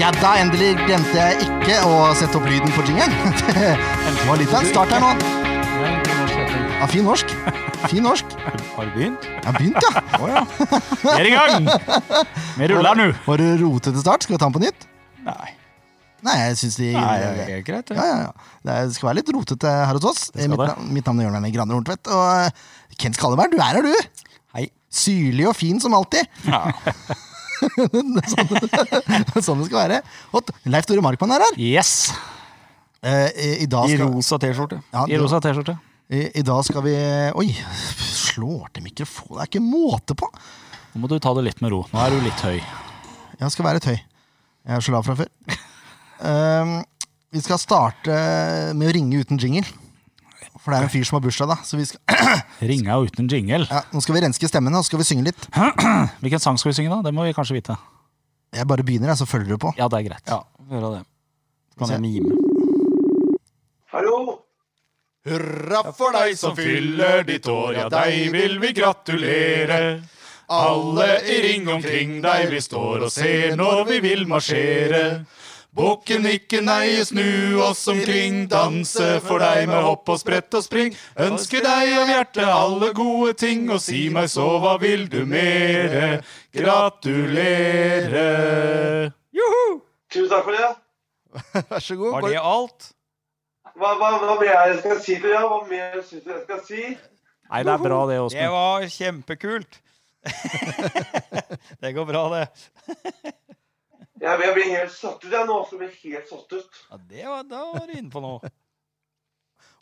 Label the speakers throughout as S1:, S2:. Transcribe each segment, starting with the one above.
S1: Ja da, endelig glemte jeg ikke å sette opp lyden på jingeren. Det var litt av en start her nå.
S2: Nei, det var slett ikke.
S1: Ja, fin norsk. Fin norsk.
S2: Har du begynt?
S1: Jeg har begynt, ja.
S2: Å ja. Vi er i gang! Vi ruller nå.
S1: Var det rotete start? Skal vi ta den på nytt?
S2: Nei,
S1: Nei, jeg syns de
S2: Nei, det er helt greit.
S1: Ja,
S2: det.
S1: ja, ja. Det er- skal være litt rotete her hos oss.
S2: skal
S1: Mitt,
S2: det.
S1: navn- mitt navn er Jørn Werner Graner Horntvedt. Og eh, Kent Skalleberg, du er her, du.
S2: Hei.
S1: Syrlig og fin som alltid.
S2: Ja.
S1: sånn det skal være. Og t- Leif Tore Markmann er her.
S2: Yes.
S1: Eh, I, i, dag
S2: I
S1: skal,
S2: rosa T-skjorte.
S1: Ja,
S2: I
S1: det-
S2: rosa T-skjorte.
S1: i, I dag skal vi Oi, slår til mikrofonen. Det er ikke måte på.
S2: Nå må du ta det litt med ro. Nå er du litt høy.
S1: Jeg skal være et høy. Jeg er så lav fra før. Ehm, vi skal starte med å ringe uten jingle. For det er en fyr som har bursdag, da. Så vi skal,
S2: Ringa uten jingle.
S1: ja, nå skal vi renske stemmen og så skal vi synge litt.
S2: Hvilken sang skal vi synge, da? Det må vi kanskje vite.
S1: Jeg bare begynner, jeg, så følger du på.
S2: Ja, det er greit.
S3: Ja, vi gjør det. Så kan
S1: Se.
S3: jeg mime.
S4: Hallo?
S1: Hurra
S5: For deg som fyller ditt år, ja deg vil vi gratulere. Alle i ring omkring deg vi står og ser når vi vil marsjere. Bukken nikke nei, snu oss omkring, danse for deg med hopp og sprett og spring. Ønsker deg av hjertet alle gode ting, og si meg så hva vil du mere? Gratulere.
S4: Tusen takk for det.
S5: Vær så god.
S3: Var det alt?
S4: Hva, hva, hva mer er det jeg skal si til dere? Hva mer syns dere jeg skal si?
S2: Nei, det er bra, det,
S3: Det
S2: Åsmund.
S3: var kjempekult. det går bra, det.
S4: Jeg, jeg blir helt satt ut, jeg nå. Så blir jeg helt satt ut.
S3: Ja, det var, da var du inne på noe.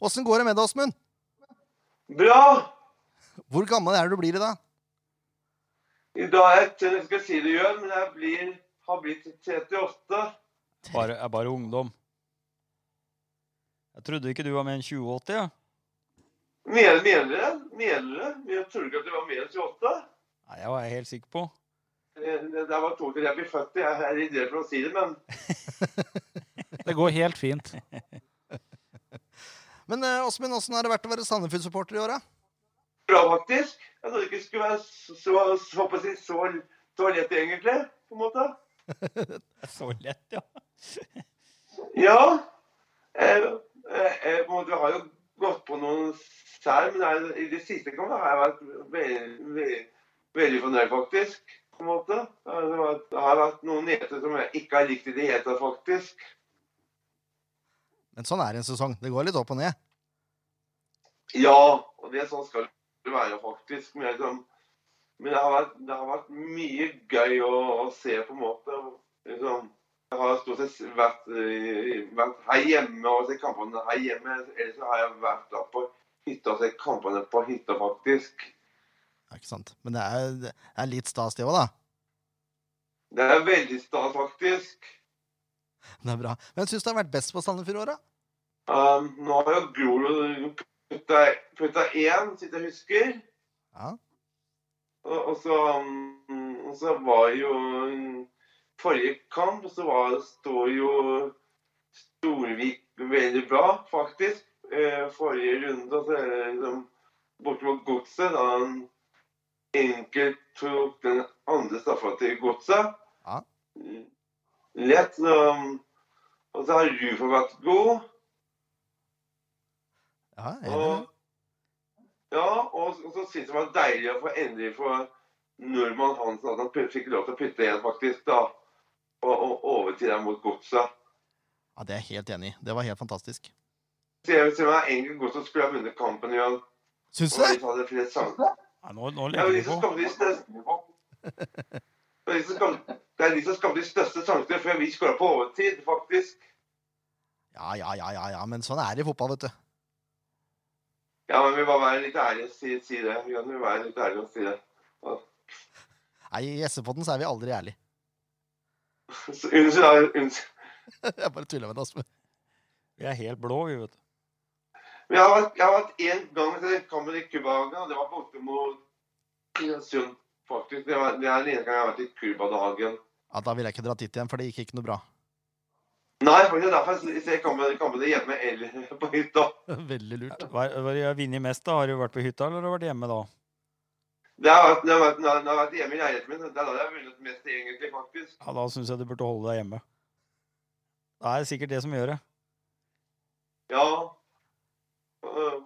S1: Åssen går det med deg, Åsmund?
S4: Bra!
S1: Hvor gammel er det du blir i dag?
S4: I dag er jeg til- jeg skal si det, Jørn, men jeg blir, har blitt 38.
S3: Bare, er bare ungdom. Jeg trodde ikke du var med en 2080, ja.
S4: Mener mener dere? Mener dere? Jeg trodde ikke at det var mer enn 28.
S3: Nei, det var jeg helt sikker på.
S4: Eh, Det det var to til jeg blir født. Jeg er i det for å si det, men
S2: Det går helt fint.
S1: Men eh, Åsmund, åssen har det vært å være Sandefjord-supporter i åra?
S4: bra, faktisk. Jeg trodde ikke det skulle være så, så, så, på å si, så, så lett, egentlig. på en måte.
S3: Det er så lett, ja.
S4: Ja. Eh, eh, eh, på en måte, vi har jo gått på noen sær, men nei, i det siste kan jeg har vært veldig, veldig, veldig fornøyd, faktisk. på en måte. Eh, Det har- det har vært noen neter som jeg ikke har likt i det hele tatt, faktisk.
S1: Men sånn er det en sesong. Det går litt opp og ned.
S4: Ja, og det er sånn skal det være, faktisk. Men, jeg, liksom, men det, har vært, det har vært mye gøy å, å se, på en måte. Liksom, jeg har stort sett vært, eh, vært her hjemme og sett kampene her hjemme. Ellers så har jeg vært da på hytta og sett kampene på hytta, faktisk.
S1: Ja, ikke sant? Men det er, det er litt stas, det òg, da.
S4: Det er veldig stas, faktisk.
S1: Det er bra. Hvem syns du har vært best på Sandefjord-åra?
S4: Um, nå har jo Grorud putta putta én, så vidt jeg husker.
S1: Ja.
S4: Og, og, så, um, og så var jo um, Forrige kamp så var, står jo Storvik veldig bra, faktisk. Eh, forrige runde og så er det liksom borte mot Godset, da han enkelt tok den andre straffa til Godset.
S1: Ja.
S4: Lett. så, um, og så har Rufo vært god.
S1: Ja, jeg er enig i det.
S4: Og, ja, og, og så synes jeg det var deilig å få endelig få Norman Hansen at han pu- fikk lov til å putte igjen, faktisk, da. Og, og overtid der mot godset.
S1: ja, det er jeg helt enig i. Det var helt fantastisk.
S4: Så jeg vil si meg egentlig godt at skulle ha vunnet kampen i år.
S1: Syns
S4: Og
S1: du det?
S4: de hadde flere sjanser.
S3: Nei, nå, nå
S4: Det er jo
S3: legger
S4: de
S3: vi
S4: som
S3: på.
S4: skapte de største Det er de som skapte- det er de som skapte de største sjansene før vi skåra på overtid, faktisk.
S1: Ja, ja, ja, ja, ja, men sånn er det i fotball, vet du.
S4: Ja, men vi må være litt ærlige og si, si det. Vi kan jo være litt ærlige og si det.
S1: Nei, I SV-podden så er vi aldri ærlige.
S4: Så, unnskyld, da. Unnskyld.
S1: Jeg bare tuller med deg, Åsmund.
S3: Vi er helt blå, vi, vet du.
S4: Men jeg har vært, jeg har vært en gang til kampen i Cuba-dagen, og det var borte mot Kristiansund, faktisk. Det, var, det er den ene gangen jeg har vært i Cuba-dagen.
S1: Ja, da ville jeg ikke dratt dit igjen, for det gikk ikke noe bra.
S4: Nei, faktisk derfor jeg ser kampen- kampene hjemme eller på hytta.
S1: Veldig lurt.
S3: Hva hva har du vunnet mest, da? Har du vært på hytta, eller har du vært hjemme da?
S4: Det har vært, det har vært, det har vært hjemme i leiligheten min. Det er da jeg har vunnet mest, egentlig, faktisk.
S3: Ja, Da syns jeg du burde holde deg hjemme. Det er sikkert det som gjør det.
S4: Ja. Øh,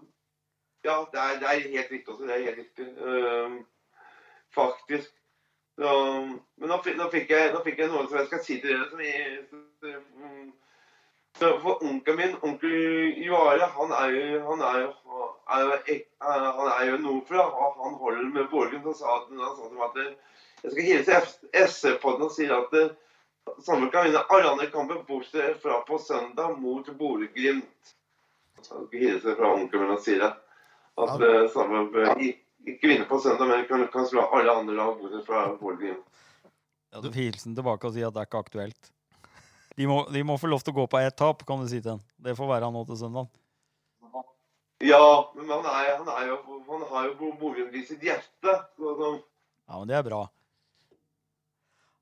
S4: ja, det er, det er helt riktig også. Det er helt riktig. Ehm, faktisk. Så, men nå fikk, nå, fikk jeg, nå fikk jeg noe som jeg skal si til dere. Som jeg, som- mm. så, for onkelen min, onkel Juare, han er jo Han er jo, er jo, ek- er, han er jo nordfra. og Han holder med Borgen. Han sa, at- han sa til meg at jeg skal hilse SF-podden og si at eh, Sandefjord kan vinne alle andre kamper bortsett fra på søndag mot Bodø-Glimt. Jeg skal ikke hilse fra onkelen min og si det. At
S1: Ja.
S4: eh, Sandefjord bør ik- ikke vinne på søndag, men kan, kan slå alle andre lag bortsett fra Bodø-Glimt.
S3: Ja, du får hilse den tilbake og si at det er ikke aktuelt. De må, de må få lov til å gå på ett tap, kan du si til den. Det får være nå til søndag.
S4: Ja, men han, er, han, er jo, han har jo Bo- Bodø-Glimt i sitt hjerte. Så, så,
S3: Ja, men det er bra.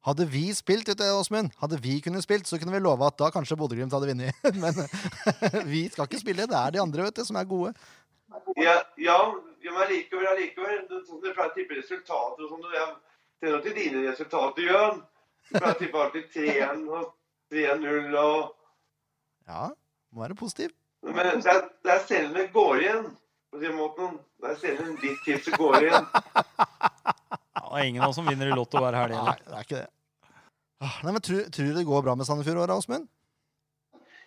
S1: Hadde vi spilt, vet du, Åsmund, hadde vi kunnet spilt, så kunne vi love at da kanskje Bodø-Glimt hadde vunnet. Men vi skal ikke spille. Det er de andre vet du, som er gode.
S4: ja, ja, ja, men allikevel, allikevel. det- Sånn du pleier å tippe resultater og sånn. og Jeg tenner til dine resultater, Jørn. Du pleier å tippe alltid 3-1 og 3-0 og
S1: Ja, må være positiv.
S4: Men det er, det er sjelden det går igjen. På den måten. Det er sjelden ditt tips som går igjen.
S3: Ja, det er ingen av oss som vinner i Lotto hver helg.
S1: Nei,
S3: heller.
S1: det er ikke det. Ah, Nei, men Tror tror du det går bra med Sandefjord i år, Åsmund?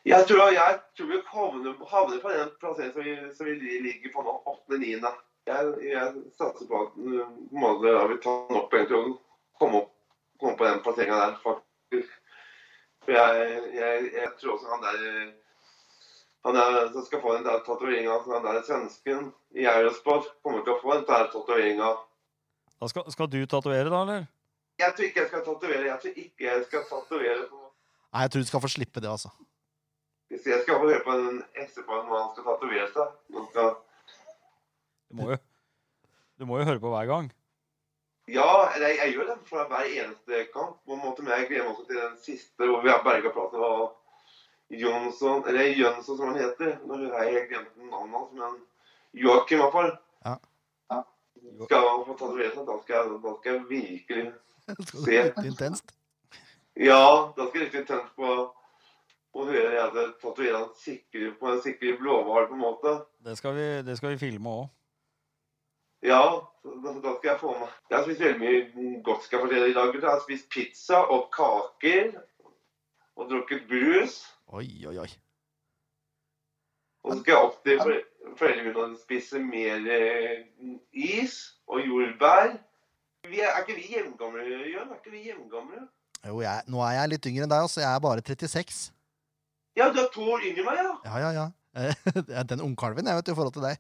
S4: Jeg tror, jeg tror vi havner, havner på den plasseringen som vi, som vi ligger på nå, 8.-9. Jeg, jeg satser på at mm, på en måte, da vi tar den opp egentlig og kommer opp, kommer på den plasseringa der, faktisk. For jeg, jeg, jeg tror også han der eh, han der som skal få den der tatoveringa, han der svensken i Eurosport, kommer til å få den der tatoveringa.
S3: Da skal, skal du tatovere, da, eller?
S4: Jeg tror ikke jeg skal tatovere. Jeg tror ikke jeg skal tatovere.
S1: Nei, jeg tror du skal få slippe det, altså.
S4: Hvis jeg skal få høre på den etterpå når han skal tatovere seg Nå skal-
S3: Du må jo, du må jo høre på hver gang.
S4: Ja, eller jeg, jeg gjør det fra hver eneste kamp. på en måte, Men jeg gleder meg også til den siste hvor vi har berga plassen. Og Jonsson, eller Jønsson som han heter. Nå har jeg helt glemt navnet hans, men Joakim i hvert fall.
S1: Ja.
S4: Ja. Skal han få tatovere seg, da skal, jeg, da skal jeg virkelig
S1: Det skal
S4: Se.
S1: være intenst.
S4: Ja, da skal jeg riktig tenke på å høre jeg at tatovere han sikre på en sikker blåhval, på en måte.
S3: Det skal vi, det skal vi filme òg.
S4: Ja, da da skal jeg få meg Jeg har spist veldig mye godt skal jeg fortelle i dag. gutter. Jeg har spist pizza og kaker. Og drukket brus.
S1: Oi, oi, oi.
S4: Og så skal jeg opp til fore- foreldrene mine og spise mer eh, is og jordbær. Vi er, er ikke vi hjemmegamle, Jørn? Er ikke vi hjemmegamle?
S1: Jo, jeg, nå er jeg litt yngre enn deg, altså. Jeg er bare 36.
S4: Ja, du er to år yngre enn meg, ja.
S1: Ja, ja, ja. Eh, Den ungkalven, jeg vet jo, i forhold til deg.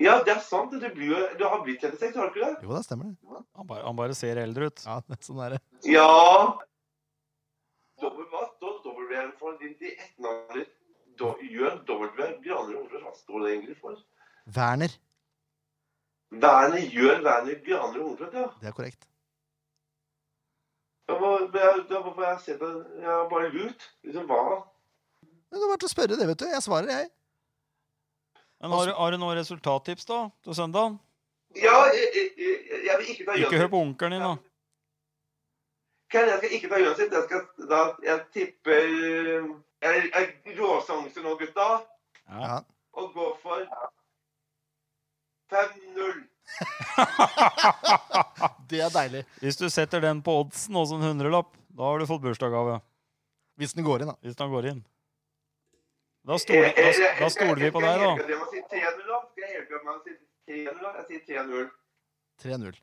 S4: Ja, det er sant. Du, blir, jo- du har blitt 36, har du ikke det?
S1: Jo da, stemmer det.
S3: Han, bare- han bare ser eldre ut.
S1: Ja, sånn er det.
S4: Ja. Dobbel hva? Do- W-en for de, de etternavnet do, Gjør W Graner Ove Hva står det egentlig for?
S1: Werner.
S4: Werner gjør Werner Graner Hornflot, ja.
S1: Det er korrekt.
S4: Da må- men jeg- da må- får jeg sett det. Jeg har bare lurt. Liksom hva?
S1: Men Det er bare til å spørre det, vet du. Jeg svarer, jeg.
S3: Men har, du- har du noen resultattips da, til søndag?
S4: Ja, jeg, jeg, jeg- jeg vil ikke ta
S3: Ikke hør
S4: Jønsson.
S3: på onkelen din, da.
S4: Ken, jeg skal ikke ta Jønsson. Jeg, skal- da- jeg tipper Jeg jeg råsangser nå, gutta.
S1: Ja.
S4: Og går for 5-0.
S1: Det er deilig.
S3: Hvis du setter den på oddsen og så en hundrelapp, da har du fått bursdagsgave.
S1: Hvis den går inn, da.
S3: Hvis han går inn. Da stoler, da, da stoler vi på deg, da.
S4: Eh, Jeg må si 3-0, da. Skal jeg helgardere meg og si 3-0, da? Jeg sier 3-0.
S1: 3-0.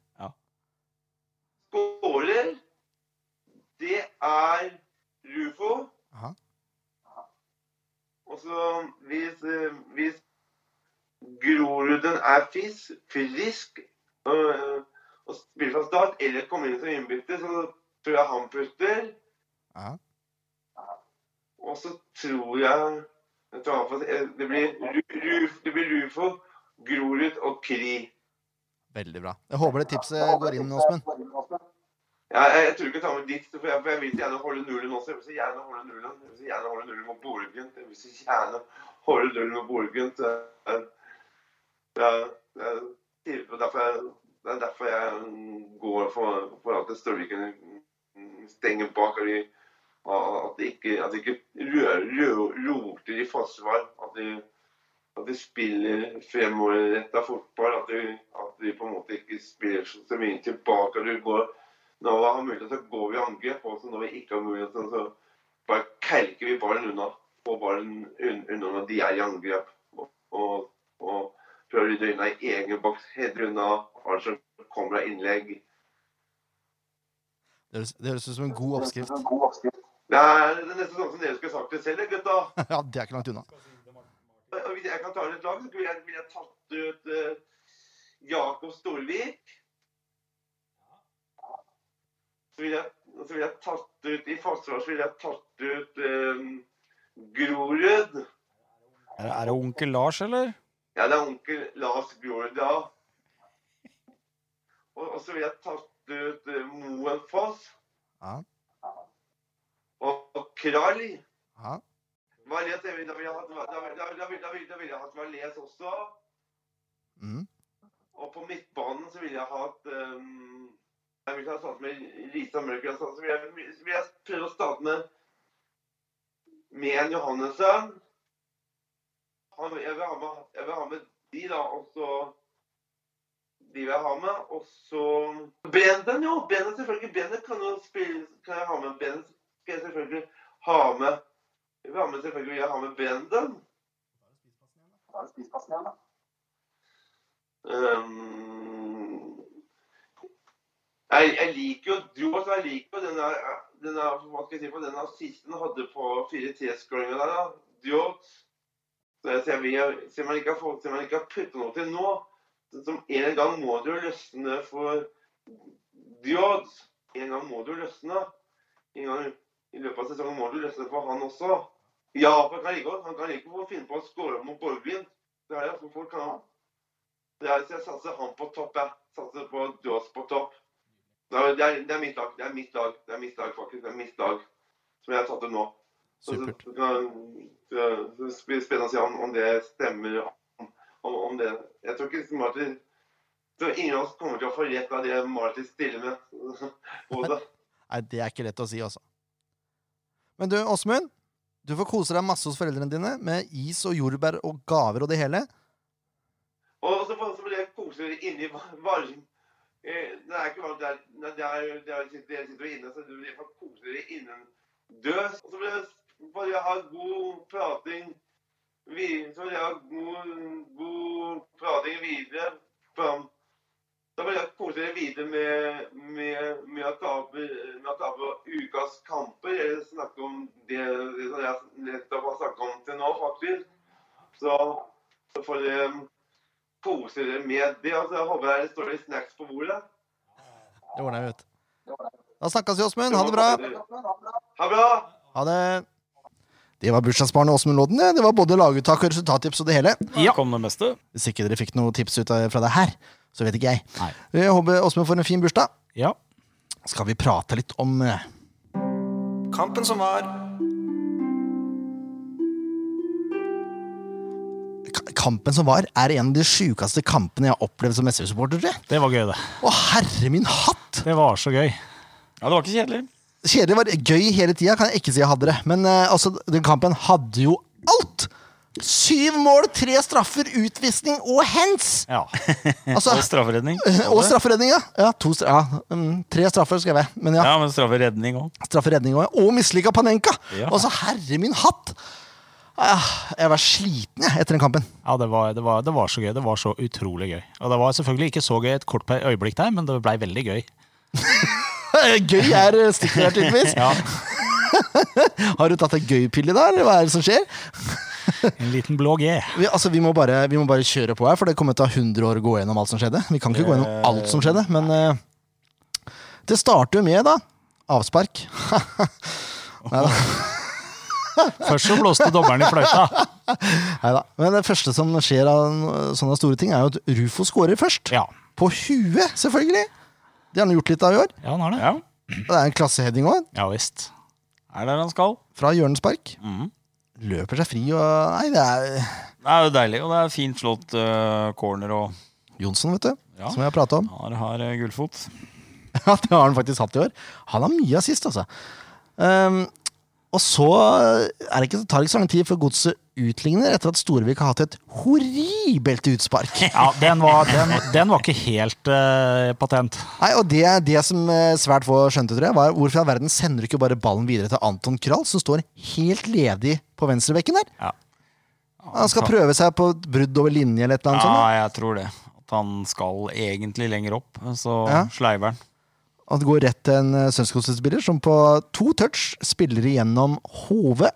S4: Skårer, det er Rufo.
S1: Aha.
S4: Og så hvis, eh, hvis Groruden er fisk, frisk øh, og spiller fra start, eller kommer inn som innbytter, så tror jeg han putter.
S1: Ja.
S4: Og så tror jeg, jeg tror han får- eh, det, blir Ru- Ruf, det blir Rufo, Grorud og Kri.
S1: Veldig bra. Jeg håper det tipset går inn, Åsmund.
S4: Ja, jeg, jeg tror ikke jeg tar med ditt, for jeg, for jeg vil så gjerne holde nullen også. Jeg vil så gjerne holde nullen. Jeg vil så gjerne holde nullen mot Borgen. Jeg vil så gjerne holde nullen mot Borgen. Så, eh, ja, jeg, sier det, derfor jeg, det er derfor jeg mm, går for, for at Størviken mm, stenger bak og de At de ikke, at de ikke rø- rø- roter i forsvar. At de, at de spiller fremoverretta fotball. At de, at de på en måte ikke spiller så, så mye tilbake. At du går, når vi har mulighet, så går vi i angrep. Og så når vi ikke har mulighet, så- så bare kelker vi ballen unna. Får ballen un, unna når de er i angrep. Og, og, og prøver å rydde unna i egen boks, header unna. Altså kommer det innlegg.
S1: Det høres- det høres ut som en god oppskrift.
S4: Det er det er nesten sånn som dere skulle sagt det selv, gutta.
S1: Ja, Det er ikke langt unna.
S4: Og Hvis jeg kan ta ut et lag, så ville jeg, ville jeg tatt ut eh, Jakob Storvik. Så ville jeg, og så ville jeg tatt ut I forsvar så ville jeg tatt ut eh, Grorud.
S3: Er det, er det onkel Lars, eller?
S4: Ja, det er onkel Lars Grorud, ja. Og, og så ville jeg tatt ut eh, Moen Foss
S1: Ja,
S4: og, og Krall.
S1: ja.
S4: Valais, jeg vil- da ville jeg hatt da ville- da ville- da ville- da ville- da ville jeg hatt Valais også.
S1: Mm.
S4: Og på midtbanen så ville jeg hatt ehm, Jeg ville ha startet med Lisa Mørker. Så ville jeg, så ville jeg prøve å starte med med en Johannessen. Han, jeg, vil ha med, jeg vil ha med de, da. Og så De vil jeg ha med. Og så Brenden, jo! Brenden, selvfølgelig. Brenden kan jo spille Kan jeg ha med Brenden? Skal jeg selvfølgelig ha med Jeg vil ha med selvfølgelig vil jeg ha med Brenden. Ehm, jeg, jeg liker jo du også, jeg liker jo den der, den der hva skal jeg si, for den assisten han hadde på 4-3-skåringa der. da, Diot. Så jeg ser, vi, ser man ikke har fått, ser man ikke har puttet noe til nå, så som en gang må det jo løsne for Diot. En gang må det jo løsne. En gang i løpet av sesongen må det jo løsne for han også. Ja, for han kan like godt han kan like godt finne på å skåre mot Borgvin. Det er det, for folk kan han. Det er, så jeg satser han på topp, jeg. Satser på Dås på topp. Det er, det, er, det er mitt lag. Det er mitt lag, det er mitt lag faktisk. Det er mitt lag som jeg har tatt ut nå. Så, så,
S1: Supert.
S4: så, så, så blir det spennende å se om, om det stemmer. Om, om, om det. Jeg tror ikke Martin jeg tror Ingen av oss kommer til å få rett av det Martin stiller med. Og da-
S1: Nei, det er ikke lett å si, altså. Men du, Åsmund. Du får kose deg masse hos foreldrene dine med is og jordbær og gaver og det hele.
S4: Og så, så ble jeg koselig inni var- varm. Eh, Det er ikke varmt, det er, nei, det er, det er sitter, jeg sitter jo inne, så du blir for koselig innendørs. Og så ble jeg, får jeg ha god prating videre, så vil jeg ha god, god prating videre fram. Da vil jeg kose dere videre med, med, med å ta opp- med å ta opp ukas kamper. Eller snakke om det, det som jeg nettopp har snakket om til nå, faktisk. Så, så får dere kose dere med det. Altså, jeg håper det står litt snacks på bordet.
S1: Det ordner jeg, vet du. Da snakkes vi, Åsmund. Ha det bra.
S4: Ha det bra!
S1: Ha det. Det var bursdagsbarnet Åsmund Lodden. det. Det var både laguttak og resultattips og det hele.
S3: Ja. Kom det meste.
S1: Hvis ikke dere fikk noen tips ut av, fra det her, så vet ikke jeg.
S2: Nei.
S1: Jeg håper Åsmund får en fin bursdag.
S2: Ja.
S1: Skal vi prate litt om eh,
S5: Kampen som var.
S1: k- kampen som var? Er en av de sjukeste kampene jeg har opplevd som SV-supporter, tror jeg.
S2: Det var gøy, det.
S1: Å, herre min hatt!
S2: Det var så gøy.
S3: Ja, det var ikke kjedelig.
S1: Kjedelig var gøy hele tida, kan jeg ikke si jeg hadde det. Men eh, altså, den kampen hadde jo alt! Syv mål, tre straffer, utvisning og hands!
S2: Ja.
S1: Altså,
S3: Og strafferedning.
S1: og strafferedning, ja. ja, to stra ja mm, tre straffer, skrev jeg. Men ja,
S3: Ja, men strafferedning òg.
S1: strafferedning og, og mislykka Panenka!
S3: Ja.
S1: Altså, herre min hatt! Ah, Jeg var sliten jeg, etter den kampen.
S2: Ja, det var, det, var, det var så gøy. Det var så utrolig gøy. Og det var selvfølgelig ikke så gøy et kort per- øyeblikk der, men det blei veldig gøy.
S1: Gøy er stikkordet her, tydeligvis.
S2: Ja,
S1: Har du tatt deg gøy-pille, da? Eller hva er det som skjer?
S2: En liten blå G.
S1: Vi, altså, vi, må bare, vi må bare kjøre på her, for det kommer til å ta 100 år å gå gjennom alt som skjedde. Vi kan ikke gå gjennom alt som skjedde, men eh, Det starter jo med, da, avspark.
S2: Først så blåste dommeren i fløyta.
S1: Neida. Men det første som skjer av n- sånne store ting, er jo at Rufo scorer først.
S2: Ja,
S1: På huet, selvfølgelig! Det har han gjort litt av i år.
S2: ja han har det.
S3: Ja.
S1: Det er en klasseheading òg,
S2: Ja visst.
S3: Er der han skal.
S1: fra hjørnespark.
S3: Mhm.
S1: Løper seg fri og Nei, det er
S3: Det er jo deilig, og det er fint slått eh, corner og
S1: Jonsson, vet du.
S3: Ja.
S1: Som jeg har prata om.
S3: Han har eh, gullfot.
S1: Ja, det har han faktisk hatt i år. Han har mye assist, altså. Ehm, Og så er det ikke, tar det ikke så lang tid før godset utligner etter at Storvik har hatt et horribelt utspark.
S2: Ja, den var, den, den var ikke helt eh, patent.
S1: Nei, og det, det som eh, svært få skjønte, tror jeg, var hvorfor i all verden sender du ikke bare ballen videre til Anton Krall, som står helt ledig på venstrebekken der?
S2: Ja.
S1: Han skal prøve seg på et brudd over linje eller et eller annet
S2: sånn,
S3: Ja,
S1: sånt.
S3: jeg tror det. At han skal egentlig lenger opp, eh, så
S1: Ja.
S3: sleiver han.
S1: Og det går rett til en eh, Strømsgodset-spiller som på to touch spiller igjennom hodet.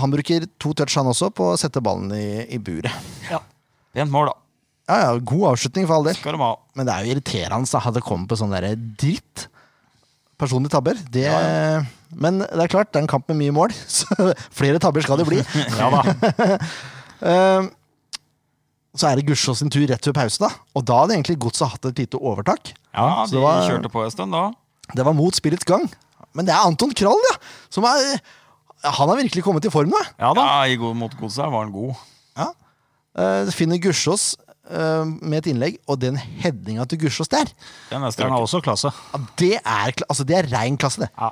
S1: Han bruker to touch, han også, på å sette ballen i, i buret.
S3: Pent mål, da.
S1: Ja, ja, god avslutning for all del.
S3: Skal de ha.
S1: Men det er jo irriterende da, at det kommer på sånn derre dritt. Personlige tabber. Det, Men det er klart, det er en kamp med mye mål. Så flere tabber skal det bli.
S2: Ja da.
S1: Eh, så er det Gusjå sin tur rett før pause, da. Og da hadde egentlig Godset hatt et lite overtak.
S2: Ja,
S3: Ja,
S1: så
S3: de
S1: det var-
S3: kjørte på en stund da.
S1: Det var mot spillets gang. Men det er Anton Krall, ja! Som er Han har virkelig kommet i form, da.
S2: ja da.
S3: Ja, i god mot godset var han god.
S1: Eh, finner Gusjås eh, med et innlegg, og den headinga til Gusjås der,
S3: Den er
S2: Den
S3: strøk.
S2: er også klasse.
S1: ja, det er, kla- altså, det er rein klasse, det.
S2: Ja.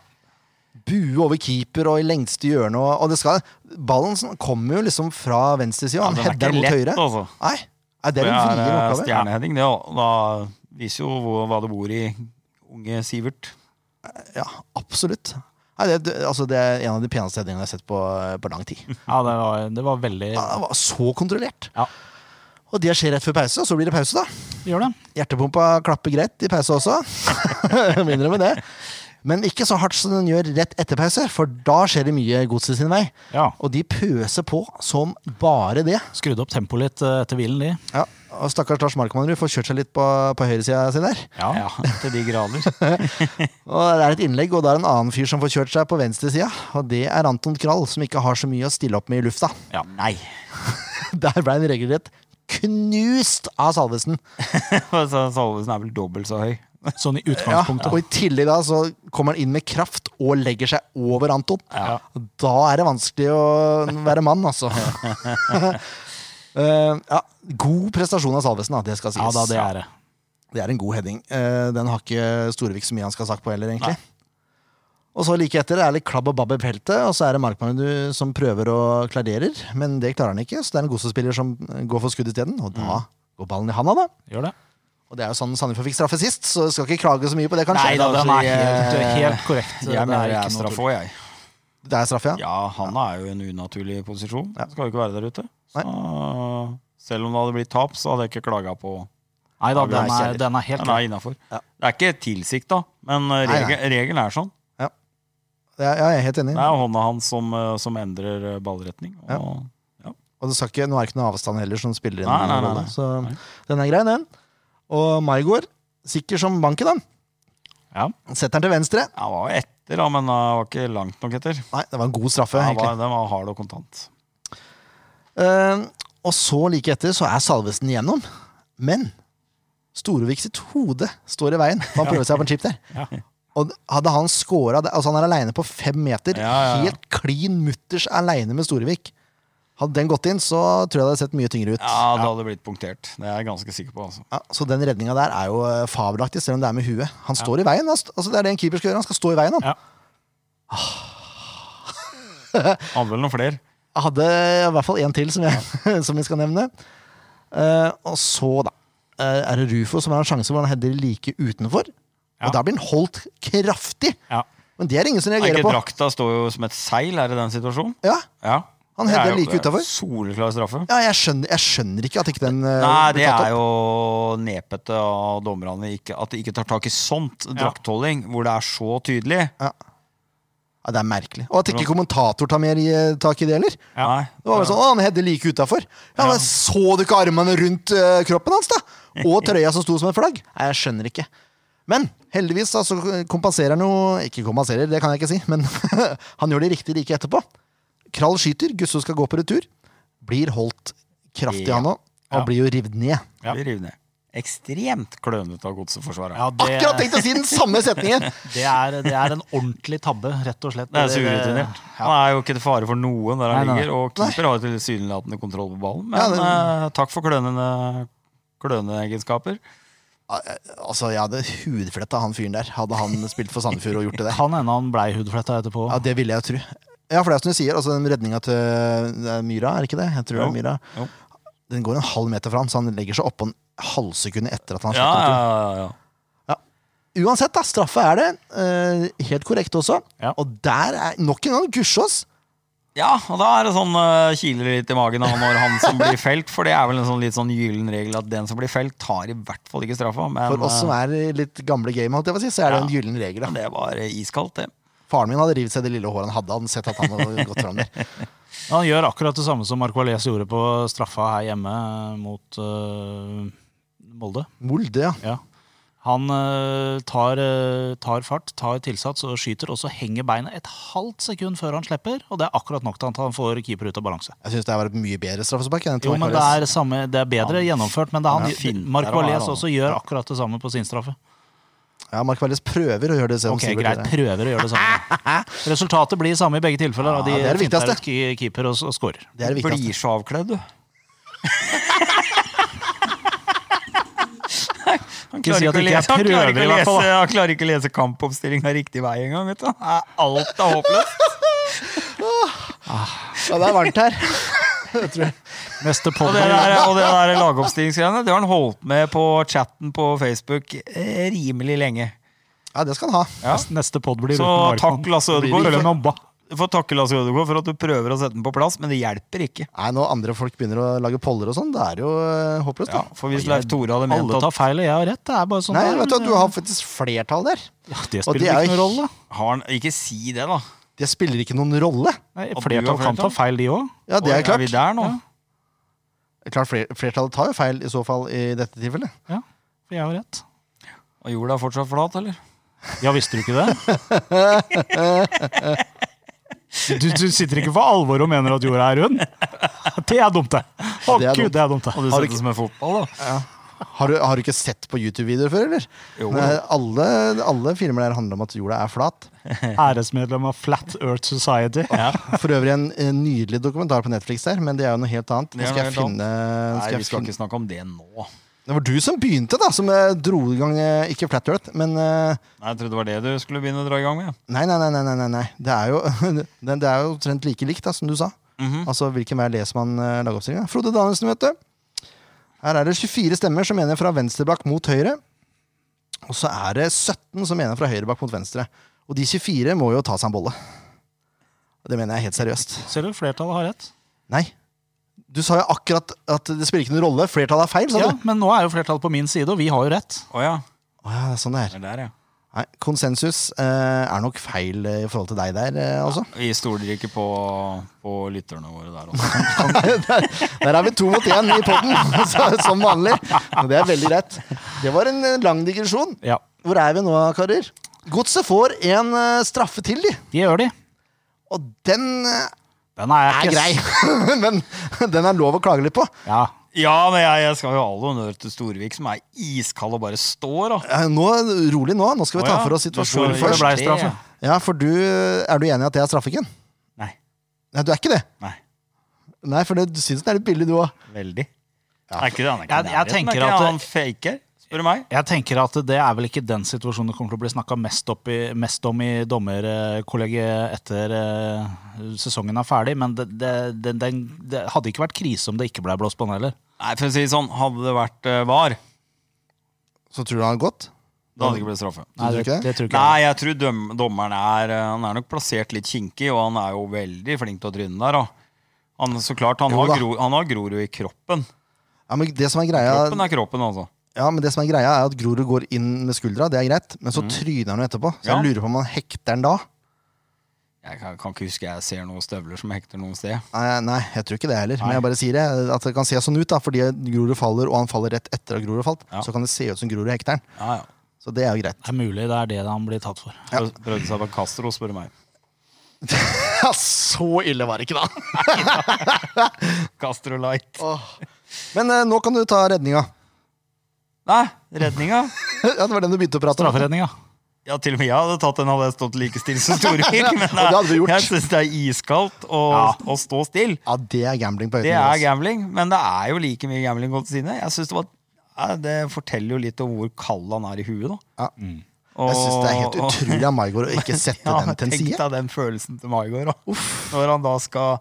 S1: Bue over keeper og i lengste hjørne. Og, og det skal, ballen som kommer jo liksom fra venstresida. Han
S3: den er
S1: header
S3: ikke
S1: mot
S3: lett,
S1: høyre.
S3: altså.
S1: Nei, Nei, det er
S3: Det
S1: en
S3: er
S1: vrien
S3: eh,
S1: oppgave.
S3: stjerneheading, det. og Da viser jo hvor- hva det bor i unge Sivert.
S1: Ja, absolutt. Nei, det, det, altså, det er en av de peneste headingene jeg har sett på, på lang tid.
S3: Mm.
S2: Ja, det var, det var veldig
S1: Ja, Det var så kontrollert.
S2: Ja.
S1: Og det skjer rett før pause, og så blir det pause, da.
S2: Gjør det.
S1: Hjertepumpa klapper greit i pause også. Jeg må innrømme det. Men ikke så hardt som den gjør rett etter pause, for da skjer det mye godset sin vei.
S2: Ja.
S1: Og de pøser på som bare det.
S2: Skrudde opp tempoet litt eh, etter hvilen, de.
S1: Ja, og Stakkars Lars Markmannrud får kjørt seg litt på, på høyresida si der.
S2: Ja.
S3: Ja, til de grader.
S1: Og Det er et innlegg, og det er en annen fyr som får kjørt seg på venstresida. Og det er Anton Krall, som ikke har så mye å stille opp med i lufta.
S3: Ja, nei.
S1: Der ble han regelrett knust av Salvesen.
S3: Så Salvesen er vel dobbelt så høy.
S2: Sånn i
S1: Ja,
S2: utgangspunktet.
S1: og i tillegg da så kommer han inn med kraft og legger seg over Anton. Og Da er det vanskelig å være mann, altså. Eh, ja, god prestasjon av Salvesen, da, det skal sies.
S2: Ja da, det er det.
S1: Det er en god heading. Eh, den har ikke Storevik så mye han skal ha sagt på heller, egentlig. Og så like etter er det klabb og babb i peltet, og så er det Markmannen du som prøver og klarerer, men det klarer han ikke, så det er en Gosse-spiller som går for skudd isteden, og
S2: Mm.
S1: da går ballen i handa, da.
S2: Gjør det.
S1: Og det er jo sånn Sandefjord fikk straffe sist, så skal ikke klage så mye på det, kanskje.
S2: Nei da, den er helt,
S1: Eh,
S2: helt korrekt.
S3: Jeg
S2: Det
S3: mener
S2: er
S3: det
S2: ikke
S3: er
S2: noe
S3: straff
S2: tull.
S3: òg, jeg.
S1: Det er straffe, ja.
S3: Ja, han er jo i en unaturlig posisjon.
S1: Ja.
S3: Skal jo ikke være der ute. Så, selv om det hadde blitt tap, så hadde jeg ikke klaga på
S2: Nei da,
S1: Ja,
S2: den
S1: det er
S2: er, den er helt
S3: Den
S2: grei.
S3: er innafor.
S1: Ja.
S3: Det er ikke tilsikta, men
S1: Nei,
S3: eh, regel, regelen er sånn.
S1: Det er, ja, jeg er helt enig.
S3: Det er hånda hans som, eh, som endrer eh, ballretning. Og,
S1: Og det skal ikke, nå er det ikke noe avstand heller som spiller inn.
S3: Nei, nei, nei,
S1: rolle,
S3: nei.
S1: Så
S3: Nei.
S1: den er grei, den. Og Maigård, sikker som banken, da.
S2: Ja.
S1: Setter den til venstre.
S3: Jeg var etter, da, men jeg var ikke langt nok etter.
S1: Nei, det var en god straffe,
S3: Den
S1: egentlig.
S3: var, den var hard og kontant.
S1: Eh, og så like etter så er Salvesen igjennom. Men Storevik sitt hode står i veien. Han prøver seg på en chip der. Og hadde han scora Altså, han er aleine på fem meter.
S3: Ja, ja, ja.
S1: Helt klin mutters aleine med Storevik. Hadde den gått inn, så tror jeg det hadde sett mye tyngre ut.
S3: Ja, det hadde blitt punktert. Det er jeg ganske sikker på. altså.
S1: Ja, så den redninga der er jo eh, fabelaktig, selv om det er med huet. Han står i veien. Han st- Altså, det er det en keeper skal gjøre. Han skal stå i veien. Han.
S2: Ja.
S3: Hadde vel noen flere.
S1: Jeg hadde i hvert fall én til som jeg, som jeg skal nevne. Eh, og så, da, eh, er det Rufo som har en sjanse hvor han header like utenfor.
S2: Ja.
S1: Og da blir han holdt kraftig!
S2: Ja.
S1: Men det er det ingen som
S3: Er
S1: reagerer
S3: ikke
S1: på.
S3: drakta står jo som et seil her i den situasjonen.
S1: Ja,
S3: Ja.
S1: Han
S3: Det er
S1: header
S3: jo-
S1: like
S3: det er
S1: utenfor.
S3: Soleklar straffe.
S1: ja jeg, skjønner, jeg skjønner ikke at ikke den eh,
S3: Nei,
S1: blir
S3: det
S1: tatt opp.
S3: er jo nepete av dommerne ikke, at de ikke tar tak i sånt. Draktholding hvor det er så tydelig.
S1: Ja, det er merkelig. Og at ikke kommentator tar mer i, eh, tak i det heller. Det
S3: Nei.
S1: var bare sånn, å, han header like utafor. Ja, men Så du ikke armene rundt eh, kroppen hans, da? Og trøya som sto som et flagg? Nei, jeg skjønner ikke. Men heldigvis da, så kompenserer han jo Ikke kompenserer, det kan jeg ikke si, men han gjør det riktig like etterpå. Krall skyter, Gusso skal gå på retur. Blir holdt kraftig,
S3: Ja.
S1: han òg. Og
S2: Ja.
S1: blir jo revet ned.
S2: Ja.
S3: Vi river ned. Ekstremt klønete av godseforsvaret.
S2: Ja, det,
S1: Akkurat tenkt å si den samme setningen!
S2: det, er, det er en ordentlig tabbe, rett og slett.
S3: Det er så urutinert. Han er jo ikke til fare for noen der han
S2: Nei, nei.
S3: ligger, og keeper har tilsynelatende kontroll på ballen. Men
S1: Ja, det-
S3: eh, takk for klønende kløneegenskaper.
S1: Altså, jeg hadde hudfletta han fyren der, hadde han spilt for Sandefjord og gjort det der.
S2: Kan hende Eh, han blei hudfletta etterpå.
S1: Ja, Det ville jeg jo tro. Ja, for det er som du sier, altså den redninga til det er Myra, er det ikke det? Jeg tror det
S3: Jo.
S1: er Myra.
S3: Jo.
S1: Den går en halv meter fra han, så han legger seg oppå en halvsekund etter at han
S3: Ja,
S1: slipper den.
S3: ja, ja, ja.
S1: Uansett, da, straffe er det. eh, helt korrekt også.
S2: Ja.
S1: Og der er nok en gang Gussiås.
S3: Ja, og da er det sånn uh, kiler det litt i magen av når han som blir felt, for det er vel en sånn litt sånn gyllen regel at den som blir felt, tar i hvert fall ikke straffa. Men
S1: For oss som er i litt gamle game, holdt jeg på å si, så er det
S3: Ja.
S1: en gyllen regel.
S3: eh,
S1: Da.
S3: det var eh, iskaldt, det.
S1: Faren min hadde revet seg det lille håret han hadde, hadde han sett at han hadde gått fram der.
S2: Han gjør akkurat det samme som Marco Alès gjorde på straffa her hjemme mot øh, Molde.
S1: Molde, ja.
S2: Ja. Han øh, tar, øh, tar fart, tar tilsats og skyter, og så henger beinet et halvt sekund før han slipper, og det er akkurat nok til at han får keeper ut av balanse.
S1: Jeg syns det her var et mye bedre straffespark. enn
S2: Jo,
S1: til
S2: men det
S1: Marquez.
S2: er, samme, det er bedre gjennomført, men det er
S3: Ja,
S2: han,
S3: fint. Der
S2: Marco
S3: var
S2: Alès
S3: han.
S2: også gjør akkurat det samme på sin straffe.
S1: Ja, Mark Valles prøver å gjøre det. selv om
S2: Ok,
S1: Sivert
S2: greit,
S1: gjør det.
S2: prøver å gjøre det samme. Resultatet blir samme i begge tilfeller. og de
S1: Ja, det er det
S2: finter
S1: viktigste.
S2: ut ki- keeper og, og scorer.
S1: Det er det viktigste.
S3: Blir så avkledd, du. Han
S2: Ikke si at
S3: klarer ikke, å
S2: ikke jeg
S3: lese, han, klarer
S2: prøver i
S3: ikke å
S2: hvert fall,
S3: lese, han klarer ikke å lese kampoppstillinga riktig vei engang. vet du. Er Alt er håpløst.
S1: Ja, det er varmt her. Jeg tror-
S2: Neste
S3: Og
S2: podd
S3: det der, og det der lagoppstillingsgreiene det har han holdt med på chatten på Facebook eh, rimelig lenge.
S1: Ja, det skal han ha.
S3: Ja.
S2: Neste podd blir
S3: Så takk, Lasse Ødegaard.
S2: Følg med om ba-
S3: Du får takke Lasse Ødegaard for at du prøver å sette den på plass, men det hjelper ikke.
S1: Nei, Når andre folk begynner å lage poller og sånn, det er jo eh, håpløst.
S3: Ja,
S1: da.
S3: for hvis Leif Tore hadde ment
S2: Alle
S3: at
S2: tar feil, og jeg har rett. Det er bare sånn
S1: Nei,
S2: det er,
S1: vet du,
S2: men-
S1: at du har faktisk flertall der.
S2: Ja, Det
S1: Og de er
S2: spiller ikke
S1: jo-
S2: noen rolle.
S3: har han, Ikke si det, da.
S1: Det spiller ikke noen rolle.
S2: Nei,
S3: Og du har
S2: Flertall kan ta
S3: flertall.
S2: feil, de òg.
S1: Ja, det
S3: Oi,
S1: er klart.
S3: Er vi der nå?
S1: klart fler- Flertallet tar jo feil i så fall i dette tilfellet.
S2: For jeg har rett.
S3: Og jorda er fortsatt flat, eller?
S2: Ja, visste du ikke det? Du, du sitter ikke for alvor og mener at jorda er rund? Det er dumt, det. Å
S1: det er
S2: gud,
S1: dumt.
S2: det er dumt,
S3: Og du
S2: det.
S3: setter det som en fotball, da.
S1: Har du, har du ikke sett på YouTube-videoer før, eller?
S3: Jo.
S1: Nei, alle, alle filmer der handler om at jorda er flat.
S2: Æresmedlem av Flat Earth Society.
S1: For øvrig en, en nydelig dokumentar på Netflix der, men det er jo noe helt annet.
S3: Det
S1: Nå
S3: er
S1: skal
S3: noe
S1: jeg
S3: helt
S1: finne, nå
S3: Nei,
S1: skal
S3: vi
S1: jeg
S3: skal
S1: finne.
S3: ikke snakke om det nå.
S1: Det var du som begynte, da, som eh, dro i gang eh, Ikke Flat Earth, men eh,
S3: Nei, Jeg trodde det var det du skulle begynne å dra i gang med.
S1: Nei, nei, nei. nei, nei, nei, nei. Det, er jo, det, det er jo omtrent like likt, da, som du sa. Altså, Hvilken vei leser man eh, lagoppstillingen? Frode Danielsen, vet du. Her er det 24 stemmer som mener fra venstreblakk mot høyre. Og så er det 17 som mener fra høyrebakk mot venstre. Og de 24 må jo ta seg en bolle. Og Det mener jeg helt seriøst.
S2: Ser du, flertallet har rett.
S1: Nei. Du sa jo akkurat at det spiller ikke noen rolle. Flertallet er feil, sa
S2: Ja,
S1: du.
S2: men nå er jo flertallet på min side, og vi har jo rett.
S3: Å ja.
S1: Å ja, det er sånn det
S3: Det
S1: er.
S3: er der, ja.
S1: Nei, konsensus eh, er nok feil eh, i forhold til deg der, eh, altså.
S3: Vi stoler ikke på, på lytterne våre der også.
S1: der, der er vi to mot én i poden, som vanlig. Og det er veldig greit. Det var en eh, lang digresjon.
S2: Ja,
S1: Hvor er vi nå, karer? Godset får en eh, straffe til, de.
S2: De gjør de.
S1: Og den eh,
S2: Den er,
S1: er
S2: jeg ikke
S1: grei. Men den er lov å klage litt på.
S2: Ja,
S3: Ja, men jeg, jeg skal jo ha all honnør til Storvik, som er iskald og bare står, da.
S1: Eh, Nå, Rolig nå. Nå skal vi
S3: Å
S1: ta
S3: ja,
S1: for oss
S3: du
S1: situasjonen
S3: får-
S2: Hvorfor det
S1: først.
S2: blei straffe?
S1: Ja, for du, Er du enig i at det er straffeken?
S3: Nei.
S1: Nei, du er ikke det?
S3: Nei.
S1: Nei, for det, du syns den er litt billig, du òg.
S3: Veldig. Er ikke det han er ikke
S2: Jeg- jeg
S3: i nærheten,
S2: tenker
S3: er ikke
S2: at-
S3: han faker? Spør du meg?
S2: Jeg tenker at det er vel ikke den situasjonen det kommer til å bli snakka mest, opp i- mest om i dommerkollegiet etter eh, sesongen er ferdig, men det, det, det, den, det hadde ikke vært krise om det ikke blei blåst på den heller.
S3: Nei, for å si det sånn, hadde det vært eh, VAR,
S1: Så tror du han har gått?
S3: da hadde det ikke blitt straffe.
S1: Nei, det-
S2: det tror ikke jeg.
S3: Nei, jeg tror døm, dommeren er eh, Han er nok plassert litt kinkig, og han er jo veldig flink til å tryne der. Da. Han, så klart, han
S1: Jo
S3: har,
S1: da.
S3: gro, han har Grorud i kroppen.
S1: Ja, men det som er greia
S3: Kroppen er kroppen, altså.
S1: Ja, men det som er greia er at Grorud går inn med skuldra, det er greit, men så tryner han jo etterpå. Så
S3: Ja.
S1: jeg lurer på om han hekter den da.
S3: Jeg kan, kan ikke huske jeg ser noen støvler som hekter noe sted.
S1: Nei, nei, jeg tror ikke det heller, men jeg bare sier det. At det kan se sånn ut, da, fordi Grorud faller, og han faller rett etter at Grorud har falt.
S3: Ja.
S1: Så kan det se ut som Grorud hekter den.
S3: Ja, ja.
S1: Så det er jo greit.
S2: Det er mulig det er det han blir tatt for.
S3: Prøv- Prøvde seg på Castro, spør du meg.
S1: Ja, så ille var det ikke, da!
S3: Castro Light.
S1: Men eh, nå kan du ta redninga.
S3: Nei, redninga.
S1: ja, det var den du begynte å prate om.
S2: Strafferedninga.
S3: Ja, til og med jeg hadde tatt den hadde jeg stått like stille som Storvik. Men
S1: det hadde du gjort.
S3: jeg syns det er iskaldt å, å stå stille.
S1: Ja, det er gambling på høyt
S3: Det
S1: nivå.
S3: er
S1: ass.
S3: gambling, men det er jo like mye gambling godt sine. Jeg syns det var ja, det forteller jo litt om hvor kald han er i huet, da.
S1: Ja. Jeg syns det er helt
S3: Og- og-
S1: utrolig av Maigard å ikke sette den til en
S3: Tenk
S1: side.
S3: deg den følelsen til Maigard. da. Når han da skal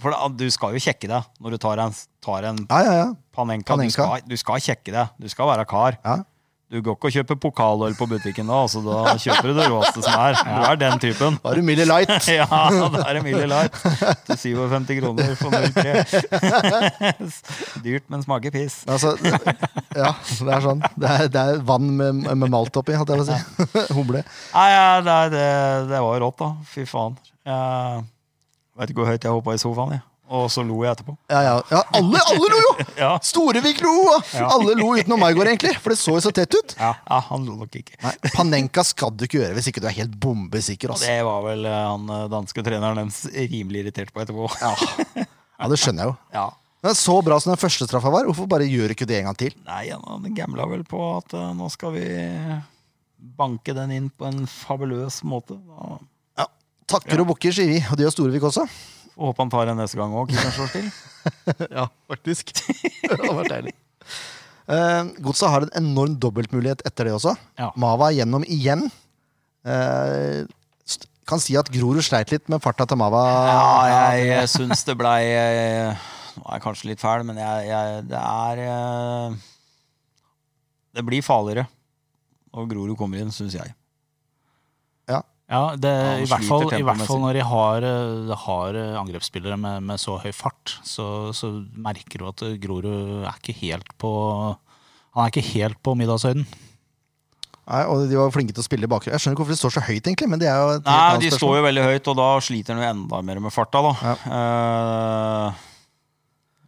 S3: For da, du skal jo kjekke deg når du tar en, tar en
S1: Ja, ja, ja.
S3: panenka.
S1: Panenka.
S3: Du, skal, du skal kjekke deg. Du skal være kar.
S1: ja.
S3: Du går ikke og kjøper pokaløl på butikken da, altså da kjøper du det råeste som er. Du er den typen.
S1: Da er det Millie Light.
S3: Ja, det er Emilie Light. Til 57 kroner for 03. Dyrt, men smaker piss.
S1: Altså, ja, det er sånn. Det er, det er vann med, med malt oppi, holdt jeg på å si. Humle.
S3: Nei, ja, det, det, det var jo rått, da. Fy faen. Jeg vet ikke hvor høyt jeg hoppa i sofaen, jeg. Og så lo jeg etterpå.
S1: Ja, ja. ja alle, alle lo jo!
S3: Ja.
S1: Storevik lo! og Alle lo utenom Maigard, egentlig. For det så jo så tett ut.
S3: Ja, han lo nok ikke.
S1: Nei, Panenka skal du ikke gjøre hvis ikke du er helt bombesikker.
S3: Og
S1: Altså.
S3: det var vel eh, han eh, danske treneren deres rimelig irritert på etterpå.
S1: Ja. ja, det skjønner jeg jo.
S3: Ja.
S1: Men så bra som den første straffa var, hvorfor bare gjør du ikke det en gang til?
S3: Nei, han gamla vel på at eh, nå skal vi banke den inn på en fabuløs måte. Da
S1: Ja. Takker og bukker, sier vi. Og det gjør Storevik også.
S3: får håpe han tar en neste gang òg.
S1: Ja, faktisk. det hadde vært deilig. Eh, Godset har en enorm dobbeltmulighet etter det også.
S2: Ja.
S1: Mava er gjennom igjen. Eh, st- kan si at Grorud sleit litt med farta til Mava.
S3: Ja, jeg, jeg syns det blei eh, Nå er jeg kanskje litt fæl, men jeg, jeg, det er eh, Det blir farligere når Grorud kommer inn, syns jeg.
S2: Ja, det,
S3: Ja, han
S2: i, hvert fall,
S3: sliter
S2: I hvert fall
S3: tempomessig.
S2: når de har, eh, har eh, angrepsspillere med, med så høy fart, så, så merker du at eh, Grorud er ikke helt på Han er ikke helt på middagshøyden.
S1: Nei, og de var flinke til å spille i bakgrunnen. Jeg skjønner ikke hvorfor de står så høyt, egentlig. Men det er jo et helt
S3: Nei,
S1: annet
S3: de står
S1: spørsmål.
S3: jo veldig høyt, og da sliter han jo enda mer med farta, da. Eh,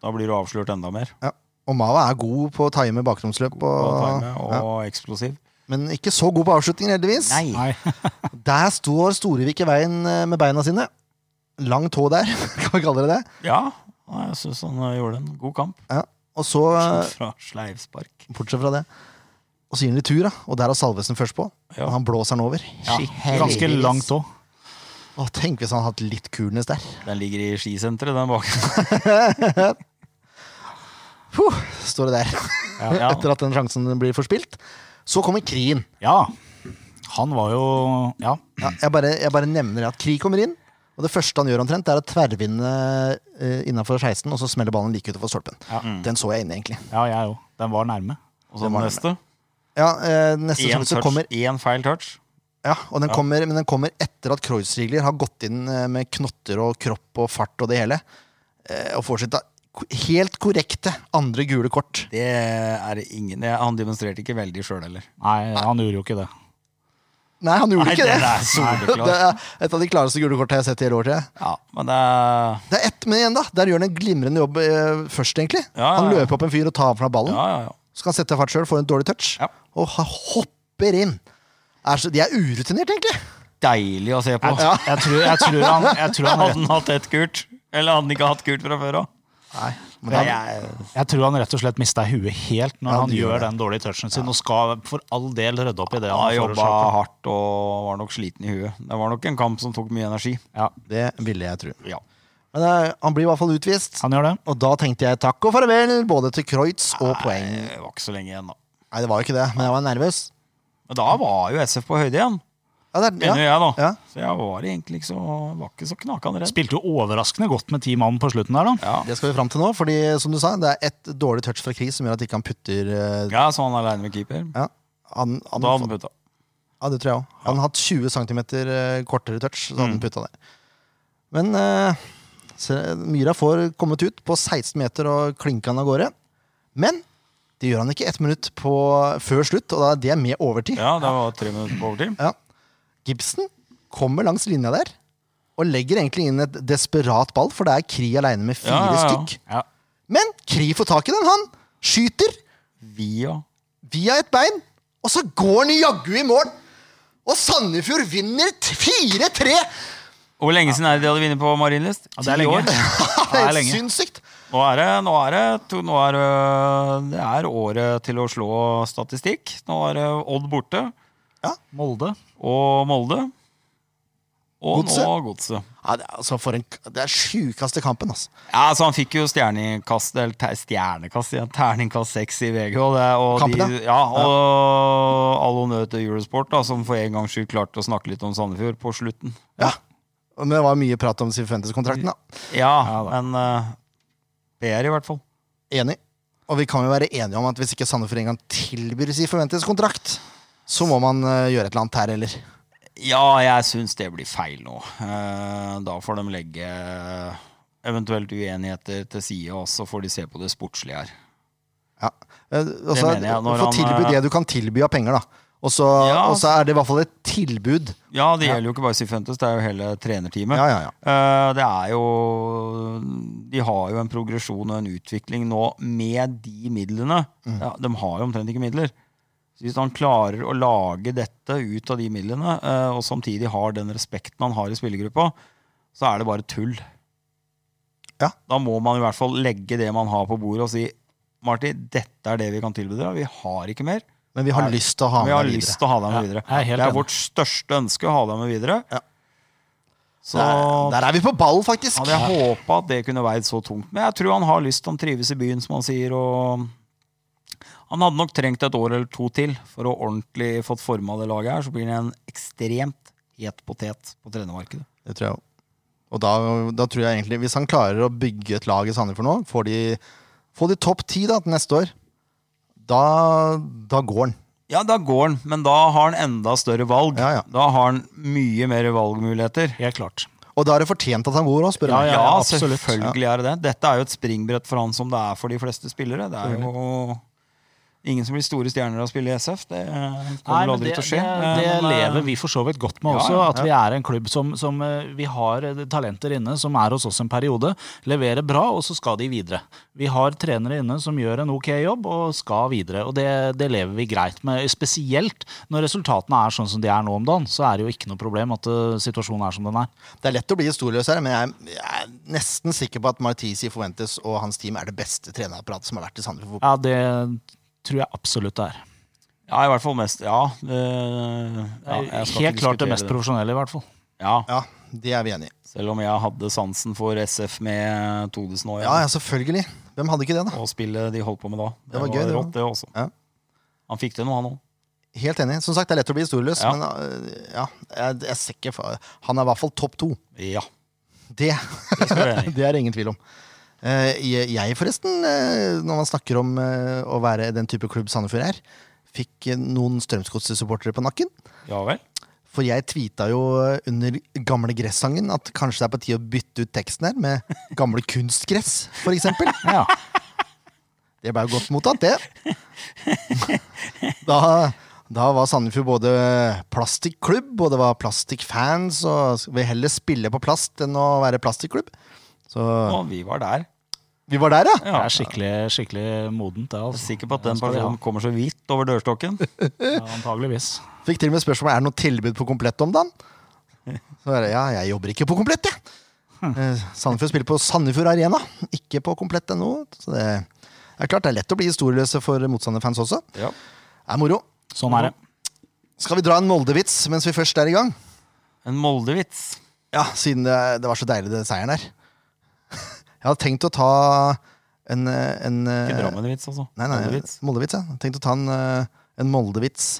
S3: da blir du avslørt enda mer
S1: Ja. Og Mava er god på å time bakromsløp.
S3: på
S1: Og,
S3: time og
S1: ja.
S3: eksplosiv.
S1: Men ikke så god på avslutningen, heldigvis.
S3: Nei.
S1: Der står Storevik i veien eh, med beina sine. Lang tå der, kan vi kalle det det.
S3: Ja, jeg syns han eh, gjorde en god kamp.
S1: Ja. Og så eh,
S3: Fra sleivspark.
S1: Bortsett fra det. Og så gir han litt tur, da. Og der har Salvesen først på.
S3: Ja.
S1: Og han blåser han over.
S2: Ganske
S1: Heldigvis.
S2: langt òg.
S1: Å, tenk hvis han hadde hatt litt coolness der.
S3: Den ligger i skisenteret, den bak.
S1: Puh, står det der.
S3: Ja.
S1: Etter at den sjansen blir forspilt. Så kommer Krien.
S2: Ja. Han var jo Ja.
S1: Ja, jeg, bare, jeg bare nevner at Kri kommer inn. Og det første han gjør omtrent, er å tverrvinde eh, innafor 16, og så smeller ballen like utenfor stolpen.
S3: Mm.
S1: Den så jeg inne, egentlig.
S2: ja jeg òg. Den var nærme.
S3: Og så
S1: Det var
S3: den neste.
S1: Ja, eh, neste
S3: Én
S1: sjanse
S3: touch,
S1: kommer
S3: én feil touch.
S1: Ja, og den kommer, men den kommer etter at Kreuzrigler har gått inn eh, med knotter og kropp og fart og det hele. eh, Og får sitt da- ko- helt korrekte andre gule kort.
S3: Det er det ingen det- Han demonstrerte ikke veldig sjøl heller.
S2: Nei, han gjorde jo ikke det.
S1: Nei, han gjorde
S3: Nei,
S1: ikke det!
S3: den er soleklar.
S1: det er et av de klareste gule kortene jeg har sett i hele år. tror jeg.
S3: Ja, men det er
S1: Det er ett, men igjen, da. Der gjør han en glimrende jobb eh, først, egentlig.
S3: Ja, ja,
S1: Han
S3: ja.
S1: løper opp en fyr og tar fra ballen.
S3: Ja, ja, ja.
S1: Så kan han sette fart sjøl, får en dårlig touch,
S3: Ja.
S1: og ha- hopper inn. Er så, de er urutinerte, egentlig.
S3: Deilig å se på.
S1: Ja.
S2: Jeg tror, jeg tror han, jeg tror han,
S3: Hadde han hatt ett gult? Eller hadde han ikke hatt gult fra før av?
S1: Nei, men
S3: Ja,
S1: han,
S3: jeg-
S2: Jeg tror han rett og slett mista huet helt når
S1: Ja,
S2: han
S1: det gjør
S2: gjør
S1: det.
S2: den dårlige touchen sin, og skal for all del rydde opp i det.
S3: Han har jobba
S2: forårsaker.
S3: hardt og var nok sliten i huet. Det var nok en kamp som tok mye energi.
S2: Ja,
S1: det ville jeg tro.
S3: Ja.
S1: Men eh, han blir i hvert fall utvist.
S2: han gjør det.
S1: Og da tenkte jeg takk og farvel, både til Kreutz og poeng.
S3: Nei, Det var ikke så lenge igjen, da.
S1: Nei, det var jo ikke det, men jeg var nervøs.
S3: Men da var jo SF på høyde igjen,
S1: Ja, det,
S3: mener
S1: er- ja.
S3: jeg, da.
S1: Ja.
S3: Så jeg var egentlig ikke så, var ikke så knakende redd.
S2: Spilte jo overraskende godt med ti mann på slutten der, da.
S3: Ja.
S1: det skal vi fram til nå, fordi som du sa, det er ett dårlig touch fra Kris som gjør at ikke han putter eh,
S3: ja, så han er aleine med keeper.
S1: Ja, han, han,
S3: Da hadde han putta.
S1: ja det tror jeg òg. Han har hatt 20 cm eh, kortere touch, så hadde
S3: Mm.
S1: han putta det. Men eh, se, Myra får kommet ut på 16 meter og klinka han av gårde. Men det gjør han ikke ett minutt på, før slutt, og da er det med overtid.
S3: Ja, det var tre minutter på overtid.
S1: Ja. Gibson kommer langs linja der og legger egentlig inn et desperat ball, for det er Kri aleine med fire
S3: Ja, ja, ja.
S1: stykk.
S2: Ja.
S1: Men Kri får tak i den, han. Skyter
S3: Via
S1: via et bein, og så går han jaggu i mål! Og Sandefjord vinner t- 4-3!
S3: Og Hvor lenge siden er det de hadde vunnet på Marienlyst?
S2: Ja, det er
S3: Ti
S2: lenge.
S3: år.
S1: Det
S2: Det er
S1: er helt
S2: lenge.
S1: sinnssykt.
S3: Nå er det, nå er det, to, nå er det, det er året til å slå statistikk. Nå er det Odd borte
S2: Molde.
S3: og Molde. Og nå
S1: Godset.
S3: Godset.
S1: Ja, det, er, altså, for en, det er sjukeste kampen, altså.
S3: Ja, altså Han fikk jo stjernekast, eller te- stjernekast, ja, terningkast seks i VG. Og, det, og,
S1: Kampen,
S3: de, ja, og all honnør til Eurosport, da, som for en gangs skyld klarte å snakke litt om Sandefjord på slutten.
S1: Ja. Men det var mye prat om Sifuentes-kontrakten,
S3: Mm.
S1: da.
S3: Ja,
S2: Ja da.
S3: men eh, PR, i hvert fall.
S1: Enig. Og vi kan jo være enige om at hvis ikke Sandefjord engang tilbyr Sifuentes-kontrakt, så må man eh, gjøre et eller annet her, eller?
S3: Ja, jeg syns det blir feil nå. Eh, da får de legge eh, eventuelt uenigheter til side, og så får de se på det sportslige her.
S1: Ja. Eh, Også,
S3: mener jeg, når
S1: få
S3: han,
S1: tilby
S3: eh,
S1: det du kan tilby av penger, da. Og så
S3: Ja.
S1: og så er det i hvert fall et tilbud.
S3: Ja, det gjelder jo ikke bare Sifuentes, det er jo hele trenerteamet.
S1: Ja, ja, ja.
S3: Eh, Det er jo De har jo en progresjon og en utvikling nå med de midlene.
S1: Mm.
S3: Ja, de har jo omtrent ikke midler. Så Hvis han klarer å lage dette ut av de midlene, eh, og samtidig har den respekten han har i spillergruppa, så er det bare tull.
S1: Ja.
S3: Da må man i hvert fall legge det man har på bordet, og si Martin, dette er det vi kan tilby dere. Vi har ikke mer.
S1: Men vi har
S3: Nei.
S1: lyst til å ha
S3: Vi har
S1: med deg
S3: lyst
S1: videre.
S3: til å ha deg med
S2: Ja,
S3: videre.
S2: jeg er helt
S3: det er
S2: enig.
S3: vårt største ønske å ha deg med videre.
S1: Ja.
S3: Så
S1: Der, der er vi på ball, faktisk!
S3: hadde jeg håpa at det kunne veid så tungt. Men jeg tror han har lyst, han trives i byen, som han sier. Og han hadde nok trengt et år eller to til for å ordentlig fått forma det laget her. Så blir han en ekstremt het potet på trenermarkedet.
S1: Det tror jeg også. Og da, da tror jeg egentlig Hvis han klarer å bygge et lag i Sandefjord nå, får de, får de topp ti da, til neste år, da, da går han.
S3: Ja, da går han, men da har han enda større valg.
S1: Ja, ja.
S3: Da har han mye mer valgmuligheter.
S2: Helt klart.
S1: Og da er det fortjent at han går òg, spør
S2: Ja,
S1: jeg.
S2: ja.
S1: meg.
S2: absolutt.
S3: selvfølgelig er det det. Dette er jo et springbrett for han som det er for de fleste spillere. Det er jo ingen som blir store stjerner av å spille i SF. Det eh, kommer
S2: men
S3: aldri
S2: det,
S3: til å skje.
S2: Det, det
S3: Men, eh,
S2: lever vi for så vidt godt med
S3: ja,
S2: også.
S3: ja,
S2: At vi er en klubb som, som eh, Vi har eh, talenter inne som er hos oss en periode, leverer bra, og så skal de videre. Vi har trenere inne som gjør en ok jobb og skal videre. Og det, det lever vi greit med. Spesielt når resultatene er sånn som de er nå om dagen, så er det jo ikke noe problem at eh, situasjonen er som den er.
S1: Det er lett å bli historieløs her, men jeg, jeg er nesten sikker på at Martisi Fuentes og hans team er det beste trenerapparatet som har vært i Sandefjord fotball.
S2: Ja, det tror jeg absolutt det er.
S3: Ja, i hvert fall mest. Ja. øh, ja jeg
S2: Helt
S3: skal ikke
S2: klart det
S3: diskutere
S2: mest profesjonelle, i hvert fall.
S3: Ja,
S1: Ja, det er vi enig i.
S3: selv om jeg hadde sansen for SF med Todesen og,
S1: Ja, ja, selvfølgelig. Hvem hadde ikke det, da?
S3: og spillet de holdt på med da. Det,
S1: var
S3: var,
S1: gøy, det
S3: rått, det også.
S1: Ja.
S3: Han fikk det nå, han òg.
S1: Helt enig. Som sagt, det er lett å bli historieløs,
S3: Ja.
S1: men øh, ja, jeg, jeg ser ikke fa- Han er i hvert fall topp to.
S3: Ja.
S1: Det,
S3: Det skal du være enig i.
S1: det er det ingen tvil om. Eh, Jeg, jeg forresten, eh, når man snakker om eh, å være den type klubb Sandefjord er, fikk eh, noen Strømsgodset-supportere på nakken.
S3: Ja vel.
S1: For jeg tweeta jo under gamle gressangen at kanskje det er på tide å bytte ut teksten her med gamle kunstgress, for eksempel.
S2: Ja.
S1: Det ble jo godt mottatt, det. Da, da var Sandefjord både plastikklubb, og det var plastikkfans, og vil heller spille på plast enn å være plastikklubb. Så
S3: Og vi var der.
S1: vi var der, ja.
S2: Det er skikkelig, skikkelig modent, det.
S3: Jeg er
S2: Altså.
S3: sikker på at den
S2: Skal vi
S3: personen kommer så vidt over dørstokken.
S2: ha. Ja, antageligvis.
S1: Fikk til og med spørsmål er det noe tilbud på komplett om dagen. Så er det, ja, jeg jobber ikke på komplett, jeg. Eh, Sandefjord spiller på Sandefjord Arena, ikke på komplett.no. Så det er klart det er lett å bli historieløse for motstanderfans også.
S3: Ja.
S1: Det er moro.
S2: Sånn er det.
S1: Skal vi dra en Molde-vits mens vi først er i gang?
S3: En Molde-vits.
S1: Ja, siden det, det var så deilig det seieren der. Jeg hadde tenkt å ta en, eh, en eh,
S3: Ikke Drammen-vits, altså.
S1: Nei, nei,
S3: Molde-vits.
S1: Moldevits, ja. Jeg tenkte å ta en, eh, en Moldevits.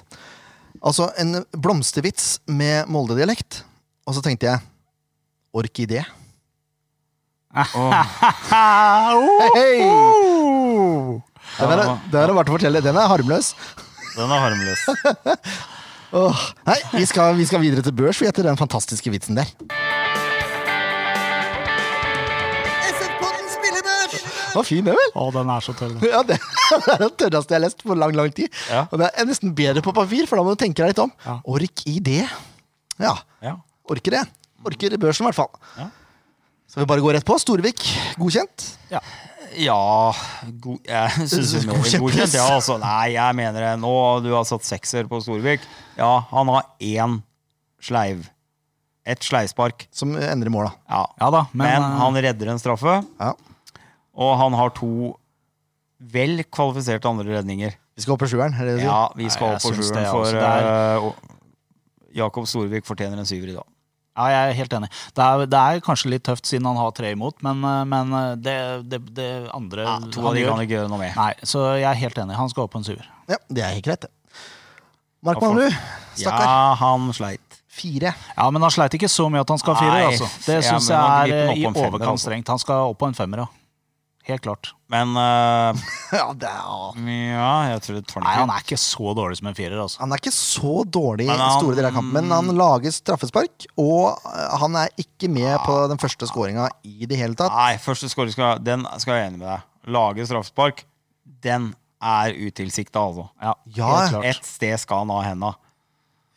S1: Altså en blomstervits med Molde-dialekt. Og så tenkte jeg orkidé. Hei, hei! Den er den er det verdt å fortelle. Den er harmløs.
S3: Den er harmløs.
S1: Åh. Nei, vi skal, vi skal videre til børs, vi, etter den fantastiske vitsen der. Hva fin den, vel?
S2: Å, den er så tørr. den.
S1: Ja, det, det er den tørreste jeg har lest på lang, lang tid.
S3: Ja.
S1: Og det er nesten bedre på papir, for da må du tenke deg litt om.
S2: Ja.
S1: Orkidé. Ja.
S3: Ja.
S1: Orker det. Orker børsen, i hvert fall.
S3: Ja.
S1: Skal vi bare gå rett på? Storvik, godkjent?
S3: Ja go Jeg syns hun
S1: Godkjent, yes.
S3: godkjent. Ja, altså, nei, jeg mener det. Nå du har satt sekser på Storvik. Ja, han har én sleiv. Ett sleivspark.
S1: Som endrer mål, da.
S3: Ja.
S2: Ja da, men, eh,
S3: Men, han redder en straffe,
S1: Ja.
S3: og han har to vel kvalifiserte andre redninger.
S1: Vi skal opp på sjueren. er det det du sier?
S3: Ja, vi skal
S2: Nei, jeg
S3: opp på
S2: syns det,
S3: sjueren,
S2: altså,
S3: for
S2: det
S3: eh, Jakob Storvik fortjener en syver i dag.
S2: Ja, jeg er helt enig. Det er, det er kanskje litt tøft siden han har tre imot, men, eh, men eh, det, det, det andre
S3: Ja, to av de kan ikke gjøre noe med.
S2: Nei, så jeg er helt enig. Han skal opp på en syver.
S1: Ja, det er helt greit, det. Mark
S3: Hvorfor?
S1: Manglerud,
S3: Ja,
S1: stakkar.
S3: han sleit.
S1: Fire.
S2: Ja, men han sleit ikke så mye at han skal ha fire.
S3: Nei,
S2: Altså. Det
S3: ja,
S2: syns
S3: men han
S2: jeg
S3: griper
S2: er
S3: den
S2: eh, i
S3: opp på en femmer,
S2: overkant
S3: altså.
S2: strengt. Han skal opp på en femmer, ja. Helt klart.
S3: Men eh,
S1: Ja, det er...
S3: ja, jeg tror det tar
S2: Nei, han
S3: den ikke.
S2: er ikke så dårlig som en firer, altså.
S1: Han er ikke så dårlig i
S3: Men han-
S1: store deler av kampen, men han lager straffespark, og eh, han er ikke med på den første skåringa i det hele tatt.
S3: Nei, første scoring skal, den skal jeg være enig med deg. Lage straffespark, den er utilsikta, altså.
S2: Ja,
S1: Ja,
S2: helt klart.
S3: Et sted skal han ha henda.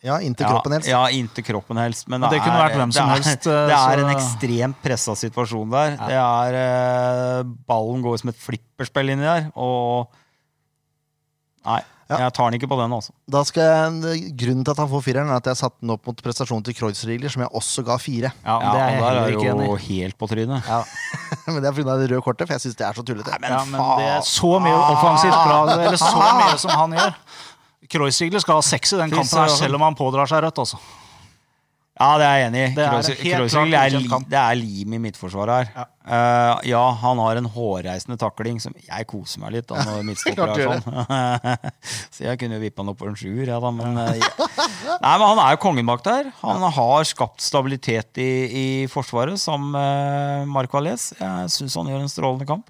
S1: Ja, inntil kroppen helst.
S3: Ja, inntil kroppen helst. Men
S2: Men det kunne
S3: er-
S2: vært hvem som
S3: det er,
S2: helst, eh,
S3: Det er
S2: så-
S3: en ekstremt pressa situasjon der. Det er eh, Ballen går som et flipperspill inni der, og Nei,
S1: Ja.
S3: jeg tar den ikke på den, altså.
S1: Da skal jeg, grunnen til at han får fireren, er at jeg satte den opp mot prestasjonen til Kreuzrigler, som jeg også ga fire.
S2: Ja,
S3: Ja,
S2: det er jeg
S3: og der
S2: heller ikke enig
S3: jo
S2: i.
S3: helt på trynet.
S2: Ja.
S1: men det er pga. det røde kortet, for jeg syns det er så tullete.
S2: Ja, men det er så mye
S3: Ah.
S2: offensivt bra, eller så mye som han gjør. Kreuzigler skal ha seks i den
S3: Fy
S2: kampen her,
S3: søren.
S2: selv om han pådrar seg rødt, altså.
S3: Ja, det er jeg enig i.
S2: Det er
S3: Kroos-
S2: en helt
S3: Kroos-
S2: klart
S3: det er
S2: godkjent
S3: li-
S2: kamp.
S3: Det er lim i midtforsvaret her. Ja. ja, han har en hårreisende takling som Jeg koser meg litt da når midtstopper
S1: klart du
S3: er
S1: gjør
S3: sånn. Så jeg kunne jo vippa han opp på en sjuer, jeg da, men eh, ja. Nei, men han er jo kongen bak der. Han har skapt stabilitet i, i forsvaret, som uh, Marco Alés. Jeg syns han gjør en strålende kamp.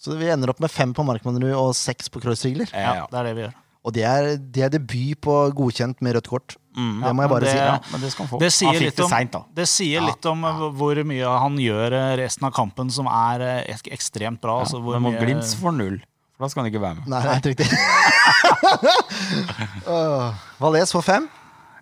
S1: Så vi ender opp med fem på Markmannrud og seks på Kreuzrigler.
S2: Ja,
S3: ja.
S2: det er det vi gjør.
S1: Og det er, det er debut på godkjent med rødt kort. det må jeg
S2: men
S1: bare
S2: det-
S1: si.
S3: Mm, Ja, men det skal han få.
S2: Det sier
S3: han fikk
S2: litt
S3: det
S2: om,
S3: seint, da.
S2: Det sier litt om eh, hvor mye han gjør eh, resten av kampen, som er eh, ek- ekstremt bra. altså, hvor
S3: men mot
S2: mye-
S3: Glimt så får han null. For da skal han ikke være med.
S1: Nei, det er helt riktig. Åh, Valais får fem.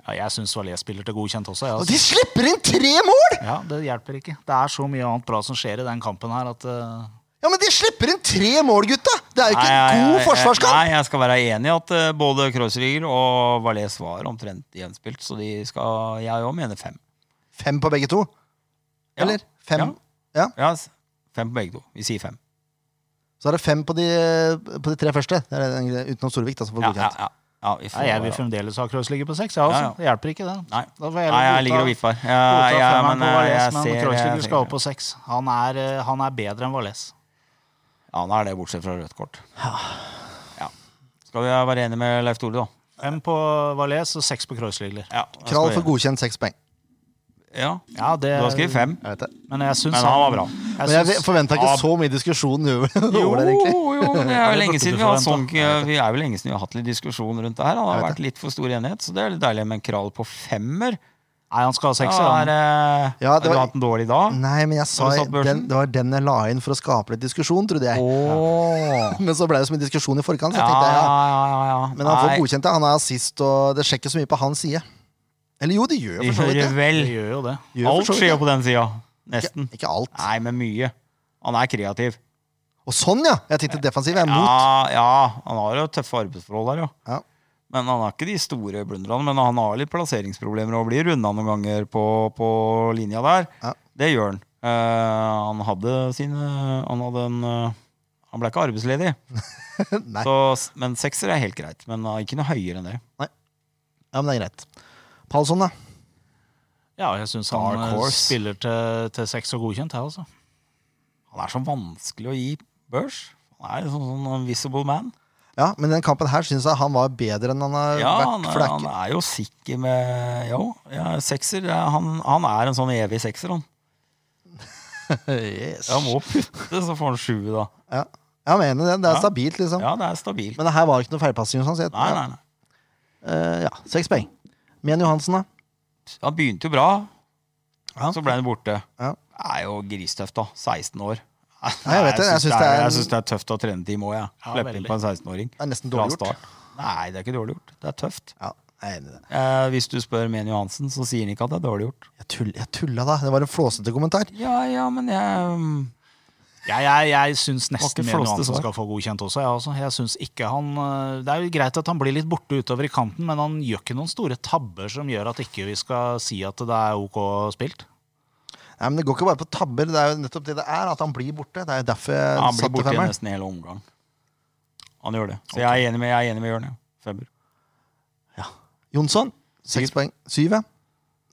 S2: Ja, jeg syns Valais spiller til godkjent også. Jeg,
S1: Og
S2: altså.
S1: de slipper inn tre mål!
S2: Ja, Det hjelper ikke. Det er så mye annet bra som skjer i den kampen her at eh,
S1: Ja, men de slipper inn tre mål, gutta! Det er jo ikke
S3: Nei,
S1: en
S3: jeg-
S1: god
S3: jeg-
S1: forsvarskamp!
S3: Nei, jeg skal være enig i at eh, både Kreuzrüger og Valais var omtrent jevnspilt, så de skal Jeg òg mener fem.
S1: Fem på begge to.
S3: Ja.
S1: Eller? Fem.
S3: Ja.
S1: Ja.
S3: Ja, s- fem på begge to. Vi sier fem.
S1: Så er det fem på de, på de tre første. Det er den, utenom Storvik, da, som får
S3: Ja, ja,
S1: godkjent.
S3: ja. Ja, vi får,
S2: ja, Jeg vil fremdeles ha Krøs ligge på seks. Jeg, altså.
S3: Ja, ja.
S2: Det hjelper ikke, det.
S3: Nei.
S2: Da får jeg
S3: Nei, jeg
S2: godta-
S3: ligger og vipper.
S2: godta
S3: Ja, ja,
S2: femmeren
S3: men
S2: på
S3: eh,
S2: Valais,
S3: jeg
S2: men
S3: ser- jeg
S2: Kreuzløger skal
S3: ser-
S2: opp på seks. Han, er, eh, han er bedre enn Valais.
S3: Ja, han er det, bortsett fra rødt kort. Ja. Skal vi være enige med Leif Tore, da?
S2: Fem på Valais og seks på Kreuzligler.
S3: Ja, da skal
S1: Krall
S3: vi-
S1: får godkjent seks poeng.
S3: Ja,
S2: Ja, det,
S3: du har skrevet fem.
S1: Jeg vet det.
S2: Men jeg syns
S3: Men han var bra.
S1: Men jeg forventa ikke så mye diskusjon over
S3: Jo,
S1: over det, egentlig.
S3: jo, det er
S2: Det
S3: jo lenge
S2: burde
S3: siden
S2: du
S3: vi har hatt sånn
S2: forvente.
S3: Vi er vel lenge siden vi har hatt litt diskusjon rundt det her. Det har
S1: Jeg vet
S3: vært litt for stor enighet, så det er litt deilig med en krall på femmer.
S2: Nei, han skal ha seks.
S3: Ja,
S2: Ja,
S3: er, eh,
S1: Ja, det
S3: Har du
S1: var- Mm.
S3: hatt en dårlig dag?
S1: Nei, men jeg sa
S3: Har du satt børsen?
S1: den, Det var den jeg la inn for å skape litt diskusjon, trodde jeg.
S3: Åh.
S1: Men så ble det som en diskusjon i forkant. Så jeg
S3: Ja,
S1: tenkte, ja.
S3: ja, ja, ja.
S1: Men han får
S3: Nei,
S1: godkjent det. Han er assist, og det skjer ikke så mye på hans side. Eller jo, det gjør
S3: Vi
S1: for så vidt
S3: hører
S1: det.
S3: vel.
S2: det gjør jo det.
S1: Gjør for
S3: Alt
S1: så vidt
S3: skjer jo
S1: det.
S3: på den sida. Nesten.
S1: Ikke, ikke alt.
S3: Nei, men mye. Han er kreativ.
S1: Og sånn, ja! Jeg tenkte defensiv. Jeg er
S3: Ja,
S1: mot.
S3: ja, han har jo tøffe arbeidsforhold der, jo.
S1: Ja.
S3: Men han har ikke de store blunderne, men han har litt plasseringsproblemer og blir runda noen ganger på, på linja der.
S1: Ja.
S3: Det gjør han. Eh, han hadde sine Han hadde en eh, Han ble ikke arbeidsledig,
S1: Nei,
S3: så, men sekser er helt greit. Men eh, ikke noe høyere enn det.
S1: ja, men det er greit. Palsson, da?
S2: Ja, jeg syns
S3: Dark
S2: han eh,
S3: horse.
S2: spiller til, til seks og godkjent, jeg, altså.
S3: Han er så vanskelig å gi børs. Han er liksom sånn en visible man.
S1: Ja, men den kampen her syns jeg han var bedre enn han har
S3: Ja,
S1: Eh, vært.
S3: han
S1: for
S3: er,
S1: det er
S3: han
S1: ikke-
S3: er jo sikker med Jo, ja, sekser. ja, Han, han er en sånn evig sekser, han.
S1: Yes.
S3: Ja, han må putte, så får han sju, da.
S1: Ja. Jeg mener det. Det
S3: Ja.
S1: er stabilt, liksom.
S3: Ja, det er stabilt.
S1: Men det her var ikke noe feilpassing. Sånn, så jeg-
S3: Nei, nei, nei.
S1: Eh, ja, Seks poeng. Men Johansen, da?
S3: Han begynte jo bra, så ble han borte.
S1: Ja.
S3: Det er jo gristøft, da. 16 år.
S1: Nei, jeg vet det. Jeg
S3: syns
S1: synes det er-
S3: jeg syns det er tøft å trene team òg, jeg.
S2: Ja,
S3: Slippe inn
S2: veldig.
S3: på en 16-åring.
S1: Det er nesten
S3: Fra
S1: dårlig gjort.
S3: start. Nei, det er ikke dårlig gjort. Det er tøft.
S1: Ja, jeg er enig i det.
S3: Eh, hvis du spør Meni Johansen, så sier han ikke at det er dårlig gjort.
S1: Jeg, tull, jeg tulla, da. Det var en flåsete kommentar.
S3: Ja, ja, men jeg mm,
S2: Jeg, jeg, jeg syns
S3: Var
S2: nesten
S3: ikke
S2: Menu
S3: flåste
S2: Hansen
S3: svar.
S2: skal få godkjent også. Jeg, altså. jeg synes ikke han, eh, det er jo greit at han blir litt borte utover i kanten, men han gjør ikke noen store tabber som gjør at ikke vi skal si at det er OK spilt.
S1: Nei, men Det går ikke bare på tabber. Det er jo nettopp det det er, at han blir borte. Det er jo derfor jeg
S3: Han blir
S1: satte
S3: borte i
S1: femmeren.
S3: nesten hele omgang. Han gjør det. Så jeg er enig med, jeg er enig med Jørn. ja. Femmer.
S1: Jonsson, seks poeng. Syv, ja.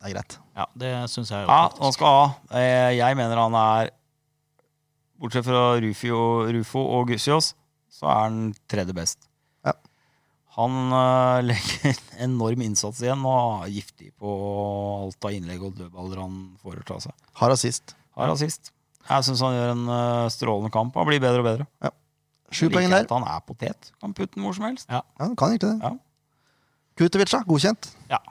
S1: Det er greit.
S2: Ja, det syns jeg jo.
S3: Ja,
S2: faktisk.
S3: han skal ha. Eh, Jeg mener han er Bortsett fra Rufio, Rufo og Gussiås, så er han tredje best.
S1: Ja.
S3: Han eh, legger en enorm innsats igjen og er giftig på alt av innlegg og dødballer han foretar seg.
S1: Har assist.
S3: Har assist. Jeg syns han gjør en eh, strålende kamp. Han blir bedre og bedre.
S1: Sju poeng
S3: Liker
S1: der.
S3: at Han er potet. Kan putte den hvor som helst.
S1: Ja, han kan egentlig det.
S3: Ja.
S1: Kutovica, godkjent.
S3: Ja.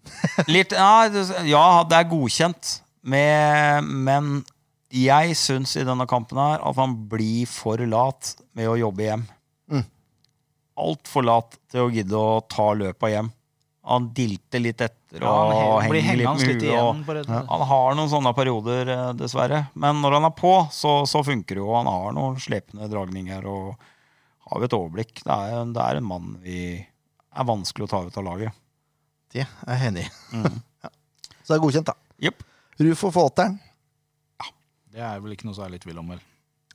S3: Litt, ja, det- ja, det er godkjent, med, men jeg syns i denne kampen her at han blir for lat med å jobbe hjem.
S1: Mm.
S3: Altfor lat til å gidde å ta løpa hjem. Han dilter litt etter
S2: Ja, han
S3: og
S2: he- blir
S3: henger
S2: hengende
S3: litt med
S2: litt
S3: huet. og-
S2: igjen. på det-
S3: Han har noen sånne perioder, eh, dessverre. Men når han er på, så, så funker det jo. Han har noen slepende dragninger og har jo et overblikk. Det er, det er en mann vi er vanskelig å ta ut av laget.
S1: Det er jeg enig i.
S3: Mm.
S1: ja. Så det er godkjent, da.
S3: Jepp.
S1: Rufo får åtteren.
S2: Det er vel ikke noe særlig tvil om, vel.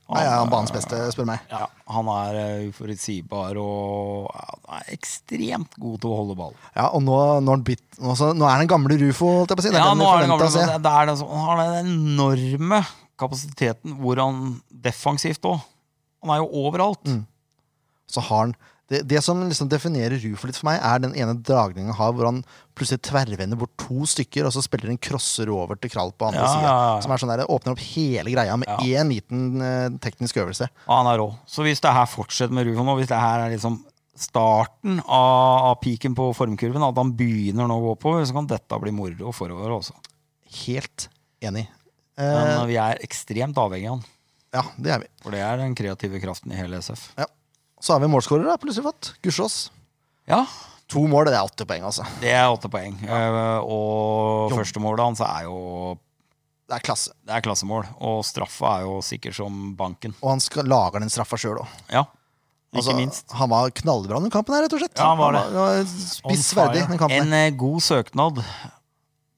S1: Nei, ja, banens beste, spør du meg.
S3: Ja, han er eh, uforutsigbar og ja, han er ekstremt god til å holde ball.
S1: Ja, og nå, nå, er han bitt, nå, så, nå er den gamle Rufo, holdt jeg på å si. Det er
S3: Ja,
S1: den
S3: nå
S1: vi
S3: er det gamle,
S1: forventet å se.
S3: det er den som- Han har den enorme kapasiteten hvor han defensivt òg Han er jo overalt.
S1: Mm. så har han det, det som liksom definerer Rufo litt for meg, er den ene dragningen han har hvor han plutselig tverrvender bort to stykker, og så spiller en crosser over til Krall på andre
S3: Ja,
S1: sida.
S3: ja, ja.
S1: Som er sånn der, åpner opp hele greia med
S3: Ja.
S1: én liten eh, teknisk øvelse.
S3: Ja, han er rå. Så hvis det her fortsetter med Rufo nå, hvis det her er liksom starten av, av piken på formkurven, at han begynner nå å gå oppover, så kan dette bli moro forover også.
S1: Helt enig.
S3: Men
S1: Eh,
S3: eh, vi er ekstremt avhengig av han,
S1: ja, det er vi.
S3: for det er den kreative kraften i hele SF.
S1: Ja. Så har vi målskårer, da, plutselig fått. Gussiås.
S3: Ja,
S1: To mål, det er åtte poeng, altså.
S3: Det er åtte poeng. Eh, Og
S1: Jo.
S3: førstemålet hans er jo
S1: Det er klasse.
S3: Det er klassemål. Og straffa er jo sikker som banken.
S1: Og han skal, lager den straffa sjøl òg.
S3: Ja, ikke
S1: Altså,
S3: minst.
S1: han var knallbra den kampen her, rett og slett.
S2: Ja, han var det.
S1: var Spissverdig,
S2: fire.
S1: den kampen.
S3: En eh, god søknad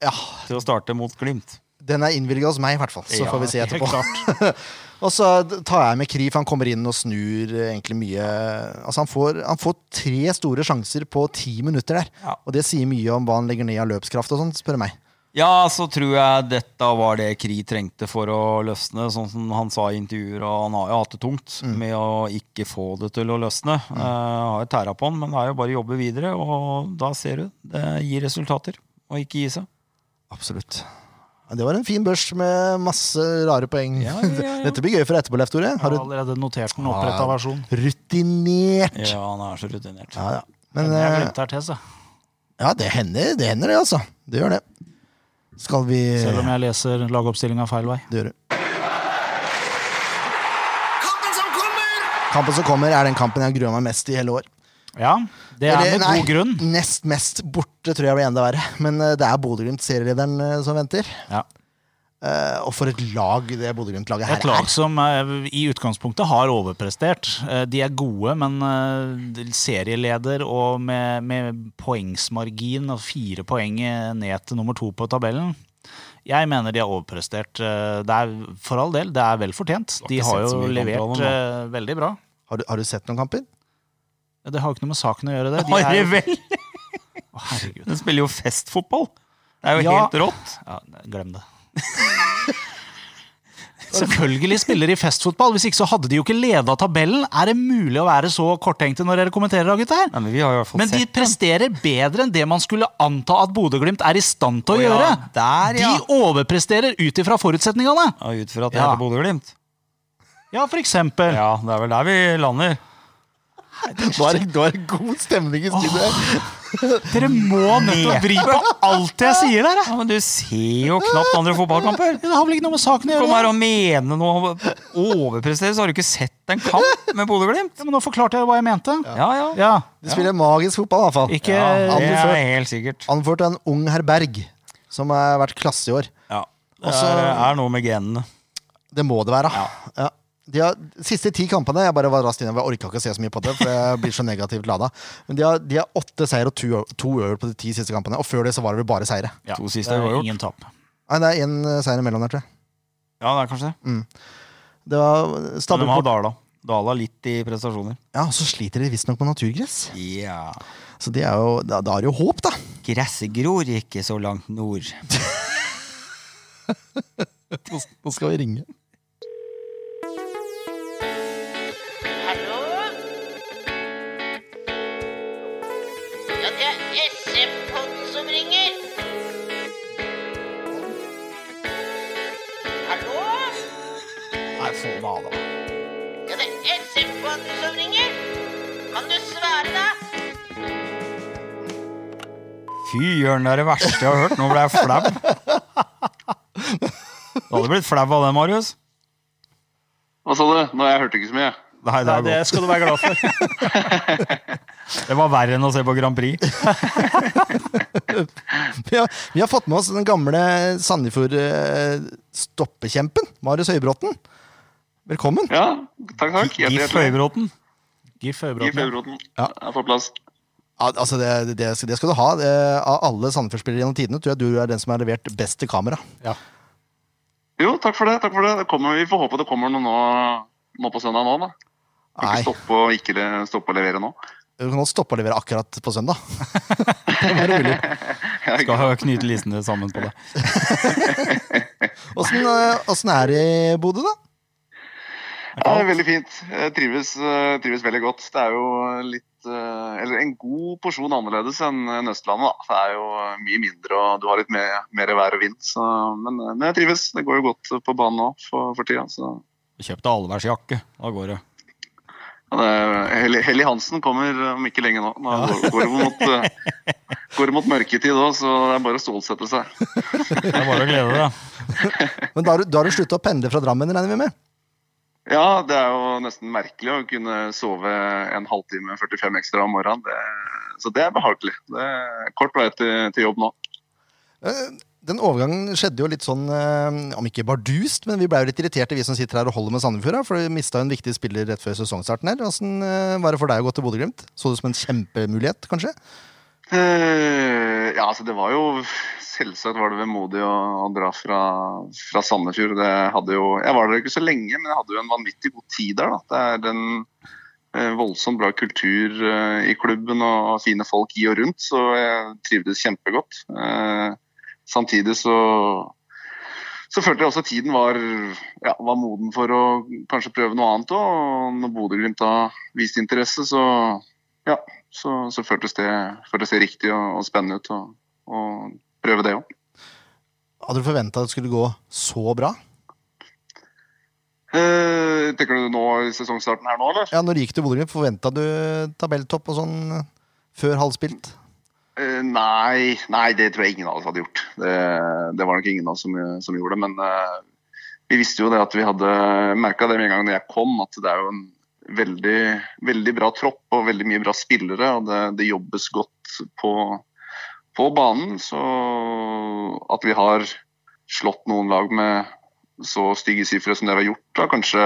S1: Ja,
S3: til å starte mot Glimt.
S1: Den er innvilga hos meg, i hvert fall. Så
S3: Ja,
S1: får vi se
S2: helt
S1: etterpå. og så tar jeg med Krif. Han kommer inn og snur eh, egentlig mye Altså, han får, han får tre store sjanser på ti minutter der.
S3: Ja.
S1: Og det sier mye om hva han legger ned av løpskraft og sånn, spør du meg.
S3: Ja, så tror jeg dette var det Kri trengte for å løsne, sånn som han sa i intervjuer. Og han har jo hatt det tungt
S1: Mm.
S3: med å ikke få det til å løsne. Eh, har jo tæra på han, men det er jo bare å jobbe videre, og da ser du. Det gir resultater. Og ikke gi seg.
S1: Absolutt. Ja, Det var en fin børs med masse rare poeng.
S3: Ja, ja, ja.
S1: Dette blir gøy for etterpå, Leif Tore.
S2: Jeg har
S1: Har du
S2: allerede notert den oppretta versjon.
S1: rutinert?
S3: Ja, han er så rutinert.
S1: Ja, ja.
S2: Men
S1: Men
S2: jeg
S1: eh,
S2: glemte RTS, jeg.
S1: ja, det hender, det hender, det, altså. Det gjør det. Skal vi
S2: Selv om jeg leser lagoppstillinga feil vei.
S1: Det gjør du. Kampen som kommer er den kampen jeg gruer meg mest i hele år.
S2: Ja, det er
S1: Eller,
S2: med god grunn.
S1: Nest mest borte tror jeg blir enda verre. Men eh, det er Bodø-Glimt, serielederen, eh, som venter.
S2: Ja.
S1: Eh, og for et lag det Bodø-Glimt-laget her
S2: Et lag
S1: er.
S2: som eh, i utgangspunktet har overprestert. Eh, De er gode, men eh, serieleder og med, med poengsmargin og fire poeng eh, ned til nummer to på tabellen. Jeg mener de har overprestert. Eh, Det er for all del, det er vel fortjent.
S3: Du har
S2: De
S3: ikke
S2: har
S3: sett så
S2: jo
S3: mye kamper av
S2: levert
S3: dem,
S2: eh, veldig bra.
S1: Har du, har du sett noen kamper?
S2: Ja, Det har jo ikke noe med saken å gjøre, det. De
S3: Harry
S2: er,
S3: vel!
S2: Å, herregud.
S3: Den spiller jo festfotball. Det er jo
S2: Ja.
S3: helt rått.
S2: Ja, glem det. Selvfølgelig spiller de festfotball. Hvis ikke så hadde de jo ikke leda tabellen. Er det mulig å være så korttenkte når dere kommenterer, da, gutter?
S3: Nei, men vi har jo i hvert fall
S2: Men de
S3: sett
S2: presterer bedre enn det man skulle anta at Bodø-Glimt er i stand til å
S3: Å ja,
S2: gjøre.
S3: der, ja.
S2: De overpresterer ut ifra forutsetningene.
S3: ja, ut fra at det
S2: Ja.
S3: heter Bodø-Glimt.
S2: Ja, for eksempel.
S3: Ja, det er vel der vi lander.
S1: Nå er det nå er det god stemning i studio her.
S2: Dere må nødt til å vri på alt jeg sier der. jeg.
S3: Ja, Men du ser jo knapt andre fotballkamper.
S2: Det har vel ikke noe med saken å
S3: Kom
S2: gjøre.
S3: her og mene noe om overprestere, så har du ikke sett en kamp med Bodø-Glimt.
S2: Ja, men nå forklarte jeg hva jeg mente.
S3: Ja, ja.
S2: Ja, eh,
S1: De spiller magisk fotball, i hvert fall.
S2: ikke
S3: ja, det
S1: Anført-
S3: er helt sikkert.
S1: Anført av en ung herr Berg, som har vært klasse i år.
S3: Ja. Det
S2: Altså-
S1: Også-
S3: er, er noe med genene.
S1: Det må det være. Ja. De har, de siste ti kampene Jeg bare var raskt innom, jeg orka ikke å se så mye på det. For jeg blir så negativt lada Men de har, de har åtte seier og to, to øver på de ti siste kampene. Og før det så var det vel bare seire.
S2: Ja,
S3: To siste
S2: det
S3: var
S2: er
S3: gjort.
S2: ingen tap.
S1: Nei, det er én seier imellom der, tror jeg.
S3: Ja, det er kanskje det.
S1: Det var
S3: Men
S1: stabil
S3: de har
S1: port-
S3: Dala. Dala litt i prestasjoner.
S1: Ja, og så sliter de visstnok med naturgress.
S3: Ja.
S1: Så det er jo, da, da er det jo håp, da.
S3: Gresset gror ikke så langt nord.
S1: Nå s- Nå skal vi ringe.
S6: Hallo? Ja, det er SM-podden som ringer. Hallo?
S2: Nei, få det av, da.
S6: Ja, det er SM-podden som ringer. Kan du svare, da?
S3: Fy jørn, det er det verste jeg har hørt. Nå ble jeg flau. Du hadde blitt flau av det, Marius.
S7: Hva sa du? Nå, jeg hørte ikke så mye.
S3: Nei, det,
S2: Nei,
S3: er
S2: det
S3: godt.
S2: skal du være glad for.
S3: det var verre enn å se på Grand Prix.
S1: Vi har, vi har fått med oss den gamle Sandefjord-stoppekjempen, Marius Høybråten. Velkommen.
S7: Ja, takk, takk.
S3: Gif
S7: Hjertelig, hjertelig.
S3: Høybråten.
S2: Gif
S7: Gif
S2: Høybråten.
S7: Høybråten
S1: Ja.
S7: er på plass.
S1: Ja, altså det, det, det skal du ha. Eh, Av alle Sandefjord-spillere gjennom tidene tror jeg du er den som har levert best til kamera.
S7: Jo, takk for det. takk for det. det kommer, vi får håpe det kommer noe nå, nå på søndag nå, da. Ikke
S1: Nei,
S7: stoppe og ikke le- stoppe å levere nå.
S1: du kan godt stoppe å levere akkurat på søndag. det var rolig.
S7: Jeg,
S3: Skal ha- knyte listene sammen på det.
S1: Åssen eh, åssen er det i Bodø, da?
S7: ja, det er veldig fint. Jeg trives, eh, trives veldig godt. Det er jo litt eh, Eller en god porsjon annerledes enn enn Østlandet, da. Det er jo mye mindre, og du har litt mer, mer vær og vind. Så, men, eh, men jeg trives. Det går jo godt på banen nå for, for tida. så...
S3: Kjøp deg allværsjakke. Da går det.
S7: Ja, det er- Helly Helly Hansen kommer om ikke lenge nå. Nå går- går det mot, eh, går det mot mørketid òg, så det er bare å stålsette seg.
S3: Det er bare å glede deg.
S1: Men da har du- da har du slutta å pendle fra Drammen, regner vi med?
S7: Ja, det er jo nesten merkelig å kunne sove en halvtime 45 ekstra om morgenen. Det, så det er behagelig. Det er kort vei til, til jobb nå.
S1: Eh, Den overgangen skjedde jo litt sånn, eh, om ikke bardust, men vi ble jo litt irriterte, vi som sitter her og holder med Sandefjord, da, for vi mista en viktig spiller rett før sesongstarten her. Åssen eh, var det for deg å gå til Bodø-Glimt? Så det som en kjempemulighet, kanskje?
S7: Eh, ja, altså det var jo Selvsagt var det vemodig å, å dra fra, fra Sandefjord. Det hadde jo, jeg var der ikke så lenge, men jeg hadde jo en vanvittig god tid der. Da. Det er en eh, voldsomt bra kultur eh, i klubben og fine folk i og rundt, så jeg trivdes kjempegodt. Eh, samtidig så, så følte jeg også at tiden var, ja, var moden for å kanskje prøve noe annet òg. Og når Bodø-Glimt da viste interesse, så, ja, så, så føltes, det, føltes det riktig og, og spennende ut å å prøve det òg.
S1: Hadde du forventa det skulle gå så bra?
S7: Eh, tenker du nå i sesongstarten her nå, eller?
S1: Ja, når du gikk til Bodø-Glimt, forventa du tabelltopp og sånn eh, før halvspilt?
S7: Eh, nei, nei, det tror jeg ingen av oss hadde gjort. Det, det var nok ingen av oss som, som gjorde det. Men eh, vi visste jo det at vi hadde merka det med en gang da jeg kom, at det er jo en veldig, veldig bra tropp og veldig mye bra spillere. Og det, det jobbes godt på, på banen. Så at vi har slått noen lag med så stygge sifre som dere har gjort, da kanskje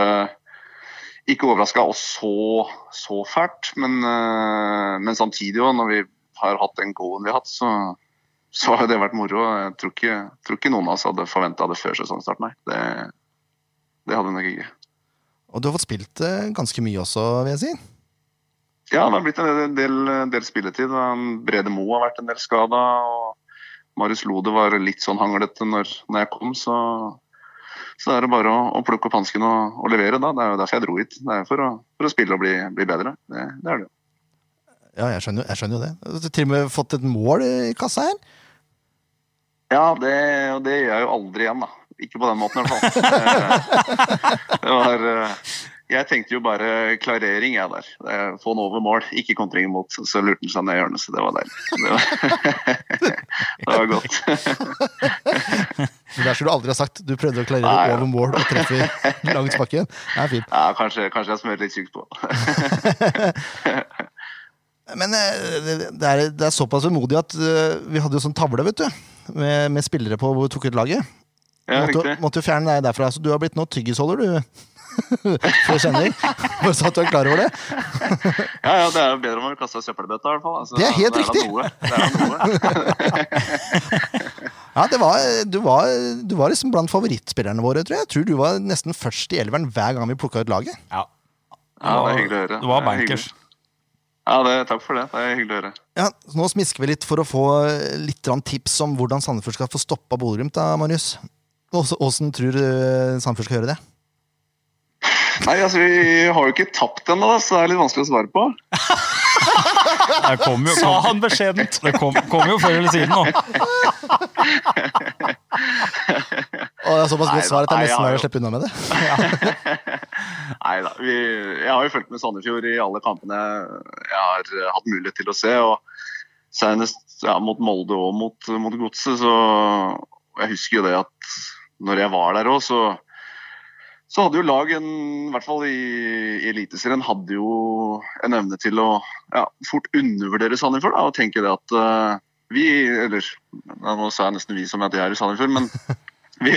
S7: ikke overraska oss så, så fælt. Men, eh, men samtidig òg, når vi har hatt den goen vi har hatt, så, så har det vært moro. Jeg tror ikke, tror ikke noen av oss hadde forventa det før sesongstart, nei. Det, det hadde vi nok ikke.
S1: Og du har fått spilt eh, ganske mye også, vil jeg si.
S7: Ja, det har blitt en del, del spilletid. Han Brede Moe har vært en del skada. Og Marius Lode var litt sånn hanglete når, når jeg kom, så, så da er det bare å, å plukke opp hansken og, og levere. da. Det er jo derfor jeg dro hit. Det er jo for å, for å spille og bli, bli bedre. Det, det er det jo.
S1: Ja, jeg skjønner, jo- jeg skjønner jo det. Du har til og med fått et mål eh, i kassa her.
S7: Ja, det, og det gjør jeg jo aldri igjen, da. Ikke på den måten, i hvert fall. Eh, Det var eh, Jeg tenkte jo bare klarering, jeg der. Eh, Få den over mål, ikke kontring imot. Så lurte han seg ned i hjørnet, så det var deilig. Det var, det var godt.
S1: Det der skulle du aldri ha sagt. Du prøvde å klarere
S7: Nei, ja.
S1: over mål og treffe langt bakken. Det er fint.
S7: Ja, kanskje, kanskje jeg smører litt tjukt på.
S1: Men eh, det, det, er, det er såpass vemodig at eh, vi hadde jo sånn tavle, vet du. Med, med spillere på hvor vi tok ut laget.
S7: Ja,
S1: måtte,
S7: riktig.
S1: måtte jo fjerne deg derfra. Så du har blitt nå tyggisholder, du. For sending. Bare så at du er klar over det.
S7: Ja, ja, det er jo bedre om man kaster søppelbøtta, i hvert fall. Altså,
S1: Det er helt
S7: da
S1: riktig.
S7: noe. Det er da noe.
S1: Ja, det var, du, var, du var liksom blant favorittspillerne våre, tror jeg. Jeg tror du var nesten først i elveren hver gang vi plukka ut laget.
S2: Ja.
S7: Ja, det er hyggelig å høre.
S3: Det var
S7: Det er hyggelig.
S3: bankers.
S7: Ja, det, takk for det. Det er hyggelig å høre.
S1: Ja, så Nå smisker vi litt for å få litt grann tips om hvordan Sandefjord skal få stoppa Bodø-Glimt, da, Marius. Også- Åssen tror du Sandefjord skal gjøre det?
S7: Nei, altså Vi har jo ikke tapt ennå, da, så det er litt vanskelig å svare på.
S3: Det kom jo,
S2: Sa
S3: kom,
S2: han beskjedent.
S3: det kom, kom jo før eller siden nå.
S1: Og det er såpass godt
S7: Nei,
S1: svar at det er
S7: nei, jeg
S1: nesten
S7: har
S1: verre å
S7: jo-
S1: slippe unna med det.
S7: Nei da. Vi, jeg har jo fulgt med Sandefjord i alle kampene jeg har eh, hatt mulighet til å se. og Senest ja, mot Molde og mot, mot Godset. Så jeg husker jo det at når jeg var der òg, så, så hadde jo lag, en, i hvert fall i, i Eliteserien, hadde jo en evne til å ja, fort undervurdere Sandefjord da, og tenke det at eh, vi, eller ja, nå sa jeg nesten vi som at jeg er i Sandefjord, men vi,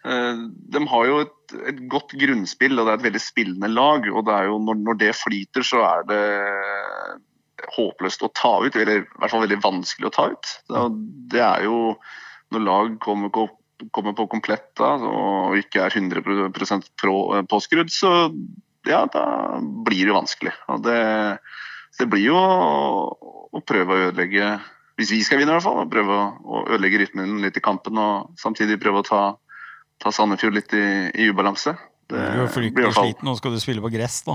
S7: Eh, De har jo et, et godt grunnspill, og det er et veldig spillende lag. og det er jo, når, når det flyter, så er det håpløst å ta ut, eller i hvert fall veldig vanskelig å ta ut. Og det er jo når lag kommer, ko- kommer på komplett da, og ikke er 100 pro, eh, påskrudd, så ja, da blir det jo vanskelig. Og det, så det blir jo å, å prøve å ødelegge hvis vi skal vinne, i hvert fall. da, Prøve å, å ødelegge rytmen litt i kampen og samtidig prøve å ta ta Sandefjord litt i, i ubalanse. Det
S3: Du er jo
S7: blir i
S3: fryktelig
S7: hvert fall
S3: sliten, nå skal du spille på gress, da.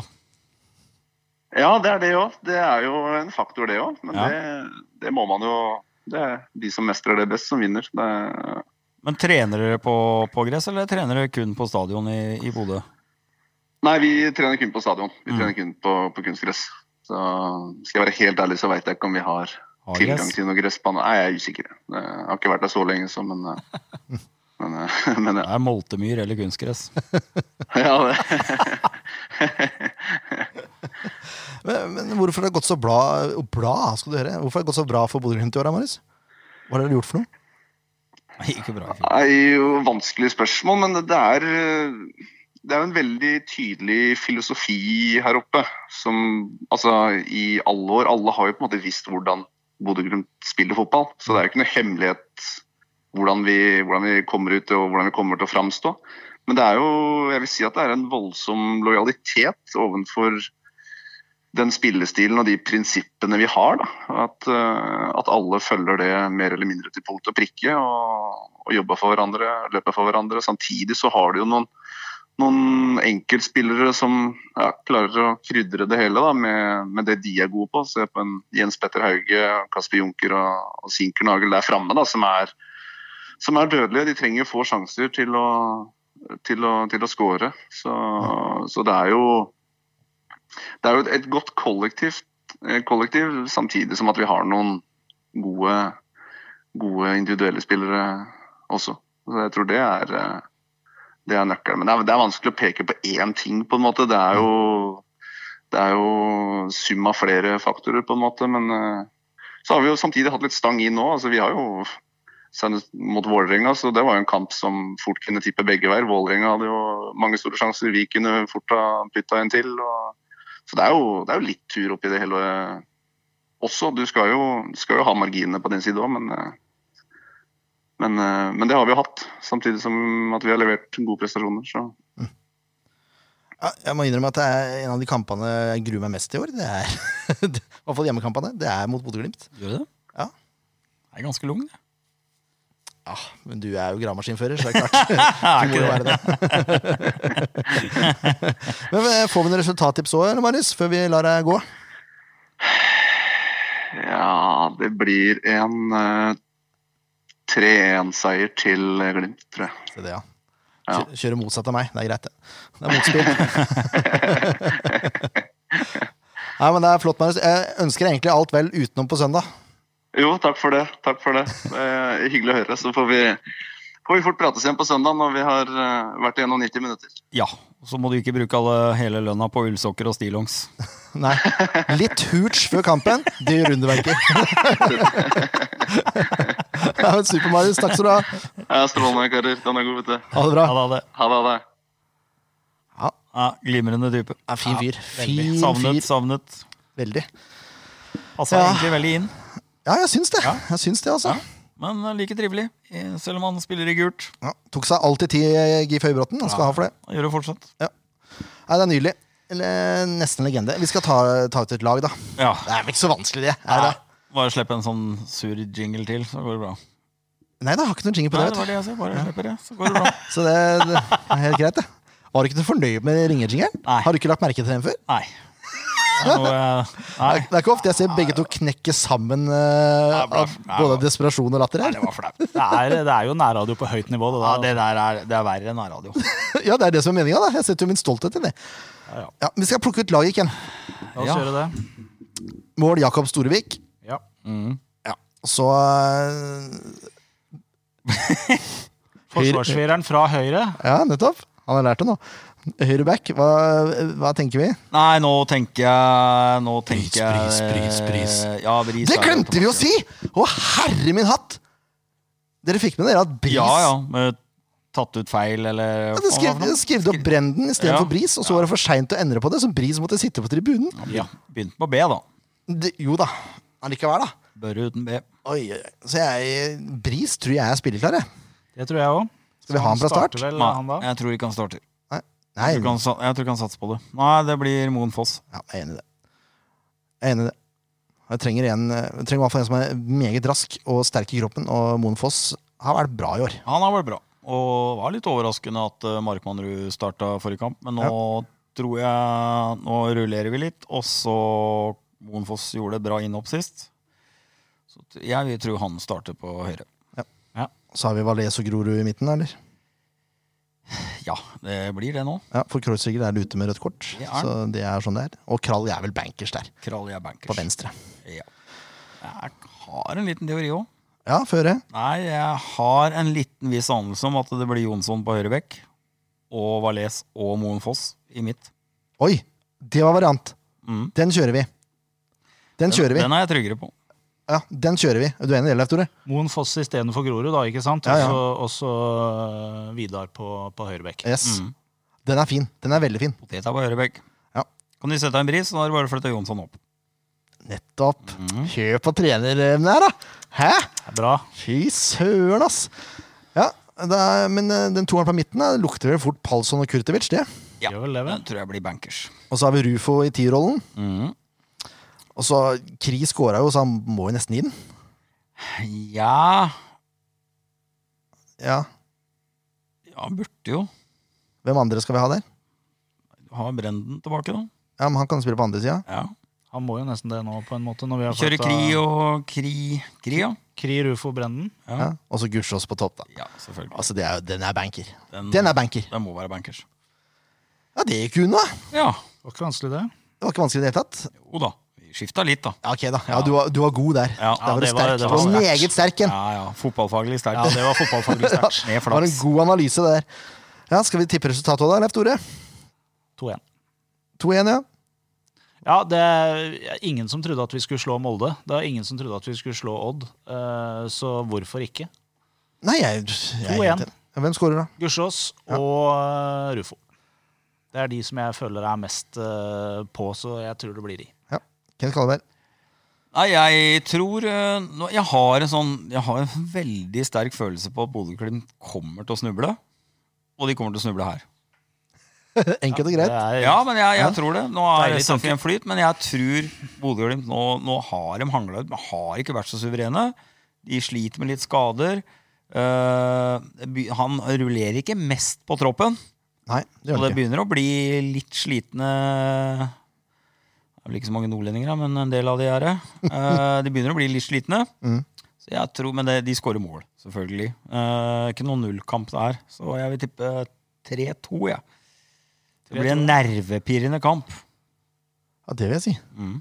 S7: Ja, det er det òg. Det er jo en faktor, det òg. Men
S3: Ja.
S7: det, det må man jo Det er de som mestrer det best, som vinner. Det,
S3: Men trener dere på, på gress, eller trener dere kun på stadion i, i Bodø?
S7: nei, vi trener kun på stadion. Vi
S3: Mm.
S7: trener kun på, på kunstgress. Så skal jeg være helt ærlig, så veit jeg ikke om vi har
S3: Har
S7: tilgang
S3: gress?
S7: til noe gressbane. Nei, jeg er usikker. Det, jeg har ikke vært der så lenge, så men eh, Men, eh, men
S3: Det er moltemyr eller kunstgress.
S7: ja. ja det.
S1: Men, men hvorfor har det gått så bra, bra skal du høre? Hvorfor har det gått så bra for Bodø-Glimt i år, da, Marius? Hva har dere gjort for noe?
S3: Nei, Ikke bra. i fjor.
S7: Det er jo vanskelig spørsmål, men det er, det er jo en veldig tydelig filosofi her oppe. Som altså, i alle år Alle har jo på en måte visst hvordan Bodø-Glimt spiller fotball. Så det er jo ikke noe hemmelighet hvordan vi, hvordan vi kommer ut og hvordan vi kommer til å framstå. Men det er jo, jeg vil si at det er en voldsom lojalitet ovenfor den spillestilen og de prinsippene vi har. Da. At, eh, at alle følger det mer eller mindre til punkt og prikke og, og jobber for hverandre, løper for hverandre. Samtidig så har du jo noen, noen enkeltspillere som ja, klarer å krydre det hele da, med, med det de er gode på. Se på en Jens Petter Hauge, Kasper Junker og, og Sinker Nagel der framme, da, som, er, som er dødelige. De trenger få sjanser til å, til å, til å skåre. Så, så det er jo det er jo et, et godt kollektiv, kollektiv, samtidig som at vi har noen gode, gode individuelle spillere også. Så jeg tror det er, eh, det er nøkkelen. Men det er, det er vanskelig å peke på én ting, på en måte. Det er jo, det er jo sum av flere faktorer, på en måte. Men eh, så har vi jo samtidig hatt litt stang inn nå. Altså, vi har jo senest mot Vålerenga, så det var jo en kamp som fort kunne tippe begge veier. Vålerenga hadde jo mange store sjanser, vi kunne fort ha putta en til. og så det er jo, det er jo litt tur oppi det hele også. Du skal jo, du skal jo ha marginene på din side òg, men, eh, men, eh, men det har vi jo hatt. Samtidig som at vi har levert gode prestasjoner. Så.
S1: Ja, jeg må innrømme at det er en av de kampene jeg gruer meg mest til i år. Det er, I hvert fall hjemmekampene. Det er mot Bodø-Glimt.
S3: Gjør du det?
S1: Ja.
S3: Det er ganske lung, det.
S1: Ja, Ah, men du er jo gravemaskinfører, så det er klart.
S3: Er
S1: Du må jo være det. men eh, får vi noen resultattips òg, Marius, før vi lar deg gå?
S7: Ja, det blir en eh, 3-1-seier til Glimt, tror jeg.
S1: Se det, ja.
S7: Ja.
S1: Kjø- Kjøre motsatt av meg. Det er greit, det. Det er motspill. Nei, men det er flott, Marius. Jeg ønsker deg egentlig alt vel utenom på søndag.
S7: Jo, takk for det. takk for det. Eh, hyggelig å høre. Så får vi, får vi fort prates igjen på søndag når vi har eh, vært igjennom 90 minutter.
S3: Ja, så må du ikke bruke alle, hele lønna på ullsokker og stillongs.
S1: Nei. Litt hooch før kampen, det gjør underverker. Ja, men Super, Marius. Takk skal du ha.
S7: Ja, Strålende, karer. Den er god, vet du.
S1: Ha det
S3: Ja,
S1: bra.
S3: da, det.
S7: Ha det. Ha det.
S3: Ja, glimrende type.
S1: Ja, fin fyr.
S3: Veldig.
S1: Fin
S3: savnet,
S1: fyr.
S3: savnet.
S1: Veldig.
S3: Passa
S1: Ja.
S3: egentlig veldig inn,
S1: Ja, jeg syns det.
S3: Ja.
S1: Jeg syns det, altså.
S3: Ja. men like trivelig. eh, Selv om han spiller i gult.
S1: Ja. Tok seg alltid tid, eh, Gif Høybråten. Han skal ha for det.
S3: Han gjør det fortsatt.
S1: Nei, det er nydelig. Eller eh, nesten legende. Vi skal ta, ta ut et lag, da.
S3: Ja.
S1: Det er vel ikke så vanskelig, det. Er det?
S3: Bare slipp en sånn sur jingle til, så går det bra.
S1: Nei, det har ikke noen jingle på
S3: Nei,
S1: det. vet
S3: det var det jeg sa. Bare slipper det, så går det bra.
S1: du. Så det, det er helt greit, det. Var du ikke fornøyd med ringejingelen?
S3: Nei.
S1: Har du ikke lagt merke til den før?
S3: Nei. Det er noe,
S2: eh,
S3: nei.
S1: Det er ikke ofte jeg ser begge to knekke sammen eh,
S3: bra.
S1: av både desperasjon og latter her.
S3: Det var flaut.
S2: Det er, det er jo nærradio på høyt nivå. Det,
S3: Ja,
S2: da.
S3: det der er, det er verre enn nærradio.
S1: Ja, det er det som er meninga, da. Jeg setter jo min stolthet i det.
S2: Ja, ja.
S1: Ja, vi skal plukke ut laget igjen.
S2: La oss
S3: Ja.
S2: gjøre det.
S1: Mål Jakob Storevik.
S2: Ja.
S1: Så eh,
S2: Forsvarsfireren fra høyre.
S1: Ja, nettopp. Han har lært det nå. Høyreback, hva, hva tenker vi?
S3: Nei, nå tenker jeg nå tenker
S2: bris,
S3: jeg-
S2: bris, bris.
S3: Ja, bris
S1: Det
S3: er jo
S1: glemte vi å si! Å, herre min hatt! Dere fikk med dere at Bris
S3: Ja, ja. men Tatt ut feil, eller
S1: Ja, det skrev, det skrev det opp Brenden
S3: Ja.
S1: istedenfor Bris, og så var det for seint å endre på det, så Bris måtte sitte på tribunen.
S3: Ja, Begynte på B, da.
S1: Det, jo da, allikevel, da.
S3: Børre uten B.
S1: Oi, oi, oi. Så jeg, Bris tror jeg er spilleklar, jeg.
S2: Det tror jeg òg.
S1: Skal vi ha han fra start?
S2: Vel, eh, han
S3: Nei,
S2: da?
S3: jeg tror ikke han starter.
S1: Nei,
S3: Jeg tror ikke han, sa- jeg tror ikke han satser på det. Nei, det blir Moen Foss.
S1: ja, jeg er enig i det. Jeg er enig i det. Jeg trenger, en, jeg trenger i hvert fall en som er meget rask og sterk i kroppen, og Moen Foss har vært bra i år.
S3: Han har vært bra. Og var litt overraskende at eh, Markmannrud starta forrige kamp, men nå tror jeg Nå rullerer vi litt, og så Monfoss gjorde et bra innhopp sist. Så t- jeg vil tro han starter på høyre.
S1: Så har vi Valais og Grorud i midten, eller?
S3: Ja, det blir det nå.
S1: Ja, For Kreuzriger er ute med rødt kort,
S3: Det er han.
S1: så det er sånn det er. Og Krall er vel bankers der,
S3: Krall, jeg er
S1: på
S3: bankers.
S1: venstre.
S3: Ja. Jeg har en liten teori òg.
S1: Ja, føre.
S3: Nei, jeg har en liten viss anelse om at det blir Jonsson på høyre bekk. Og Valais og Moen Foss i mitt.
S1: Oi, det var variant.
S3: Mm.
S1: Den kjører vi. Den kjører vi.
S3: Den er jeg tryggere på.
S1: Ja, den kjører vi. Er du enig i det, Leif Tore?
S2: Moen Foss istedenfor Grorud, da, ikke sant?
S1: Ja, ja.
S2: Også- Og så øh, Vidar på, på høyrebekk.
S1: Yes.
S3: Mm.
S1: Den er fin. Den er veldig fin.
S3: Potet er på høyre bekk.
S1: Ja.
S3: Kan de sette en bris, så da er det bare å flytte Jonsson opp.
S1: Nettopp.
S3: Mm.
S1: Kjør på trenerevne her, da. Hæ?
S2: Det er Bra.
S1: Fy søren, ass. Ja, det er, men eh, den toeren på midten da, lukter vel fort Palsson og Kurtovic, det.
S3: Ja.
S2: Gjør vel det, vel?
S3: Den tror jeg blir bankers. Mhm.
S1: Og så har vi Rufo i tierrollen. Og så Kri skåra jo, så han må jo nesten gi den.
S3: Ja
S1: Ja.
S3: Ja, burde jo.
S1: Hvem andre skal vi ha der?
S3: Ha Brenden tilbake, da.
S1: Ja, men Han kan spille på andre sida.
S3: Ja.
S2: Han må jo nesten det nå, på en måte. Når vi har
S3: Kjøre
S2: fått,
S3: Kri
S2: øh,
S3: og Kri Kri, ja.
S2: Kri, Rufo, Brenden.
S1: Ja. Og så Gussiås på topp, da.
S3: Ja, selvfølgelig.
S1: Altså, det er, jo- Den er banker.
S3: Den,
S1: Den er banker.
S3: den må være bankers.
S1: Ja, det gikk unna.
S3: Ja.
S2: Var ikke vanskelig, det.
S1: Det var ikke vanskelig i det hele tatt.
S3: Jo da. Vi skifta litt, da.
S1: Ja, ok da. Ja, du, var, du var god der.
S3: Ja,
S1: der var du
S2: det var-
S1: sterk.
S2: det var
S1: Du var
S2: sterkt.
S1: meget sterk en.
S3: Ja, ja. Fotballfaglig sterkt.
S2: Ja, det var fotballfaglig sterkt.
S3: Med
S1: det var en
S3: flaks.
S1: god analyse, det der. Ja, Skal vi tippe resultatet òg, da, Leif Tore?
S2: 2-1.
S1: 2-1, ja.
S2: Ja, det er ingen som trodde at vi skulle slå Molde. Det er ingen som trodde at vi skulle slå Odd. Eh, Så hvorfor ikke?
S1: Nei, jeg, jeg er
S2: 2-1.
S1: helt enig. Ja, Hvem scorer, da?
S2: Gussiås og eh, Rufo. Det er de som jeg føler er mest eh, på, så jeg tror det blir de.
S1: Ja. Kenneth Kalleberg.
S3: Nei, jeg tror eh, nå- Jeg har en sånn Jeg har en veldig sterk følelse på at Bodø-Glimt kommer til å snuble. Og de kommer til å snuble her.
S1: Enkelt og greit.
S2: Det er-
S3: Ja, men jeg, jeg tror det. Nå er
S2: Deilig
S3: resten fin flyt, men jeg tror Bodø-Glimt nå, nå har de hangla ut. De har ikke vært så suverene. De sliter med litt skader. Eh, det be- han rullerer ikke mest på troppen,
S1: Nei, det gjør
S3: og det
S1: han ikke.
S3: begynner å bli litt slitne Det er vel ikke så mange nordlendinger, da, men en del av de er det. Eh, de begynner å bli litt slitne.
S1: Mm.
S3: Så jeg tror, Men det, de skårer mål, selvfølgelig. Eh, ikke noen nullkamp der, så jeg vil tippe 3-2, jeg. Det blir en nervepirrende kamp.
S1: Ja, det vil jeg si.
S3: Mm.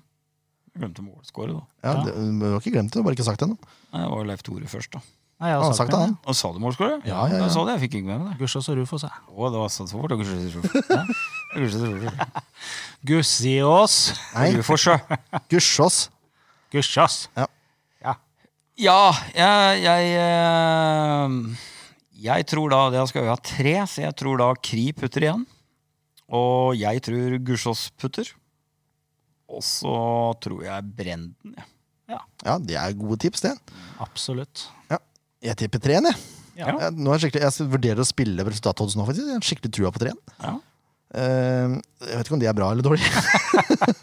S3: Jeg glemte målskåret, da.
S1: Ja, det, du har ikke glemt det, du har bare ikke sagt det ennå.
S3: Nei, Det var jo Leif Tore først, da.
S2: Nei, jeg
S1: Han har sagt det, han.
S2: min,
S3: Og sa du målskåret?
S1: Ja, ja, ja.
S3: Jeg sa det, jeg fikk ikke med meg
S2: ja.
S3: det.
S2: Gussiås og Rufo, sa jeg.
S3: Å, det var så så fort. og gusje, gusje, gusje. Ja. Gusje, gusje, gusje.
S2: Gussiås!
S1: Nei,
S3: Du får sjø.
S1: Gussiås.
S2: Gussiås!
S3: Ja, jeg jeg, eh, jeg tror da det skal jo ha tre, så jeg tror da Kri putter igjen. Og jeg tror Gussiås putter. Og så tror jeg Brenden. Ja.
S1: Ja, det er gode tips, det.
S2: Absolutt.
S1: Jeg tipper 3-1, jeg.
S2: Ja.
S1: Jeg, nå er jeg, skikkelig- jeg vurderer å spille resultatet hans nå, faktisk. Jeg har skikkelig trua på 3-1.
S3: Ja.
S1: Eh, jeg vet ikke om det er bra eller dårlig.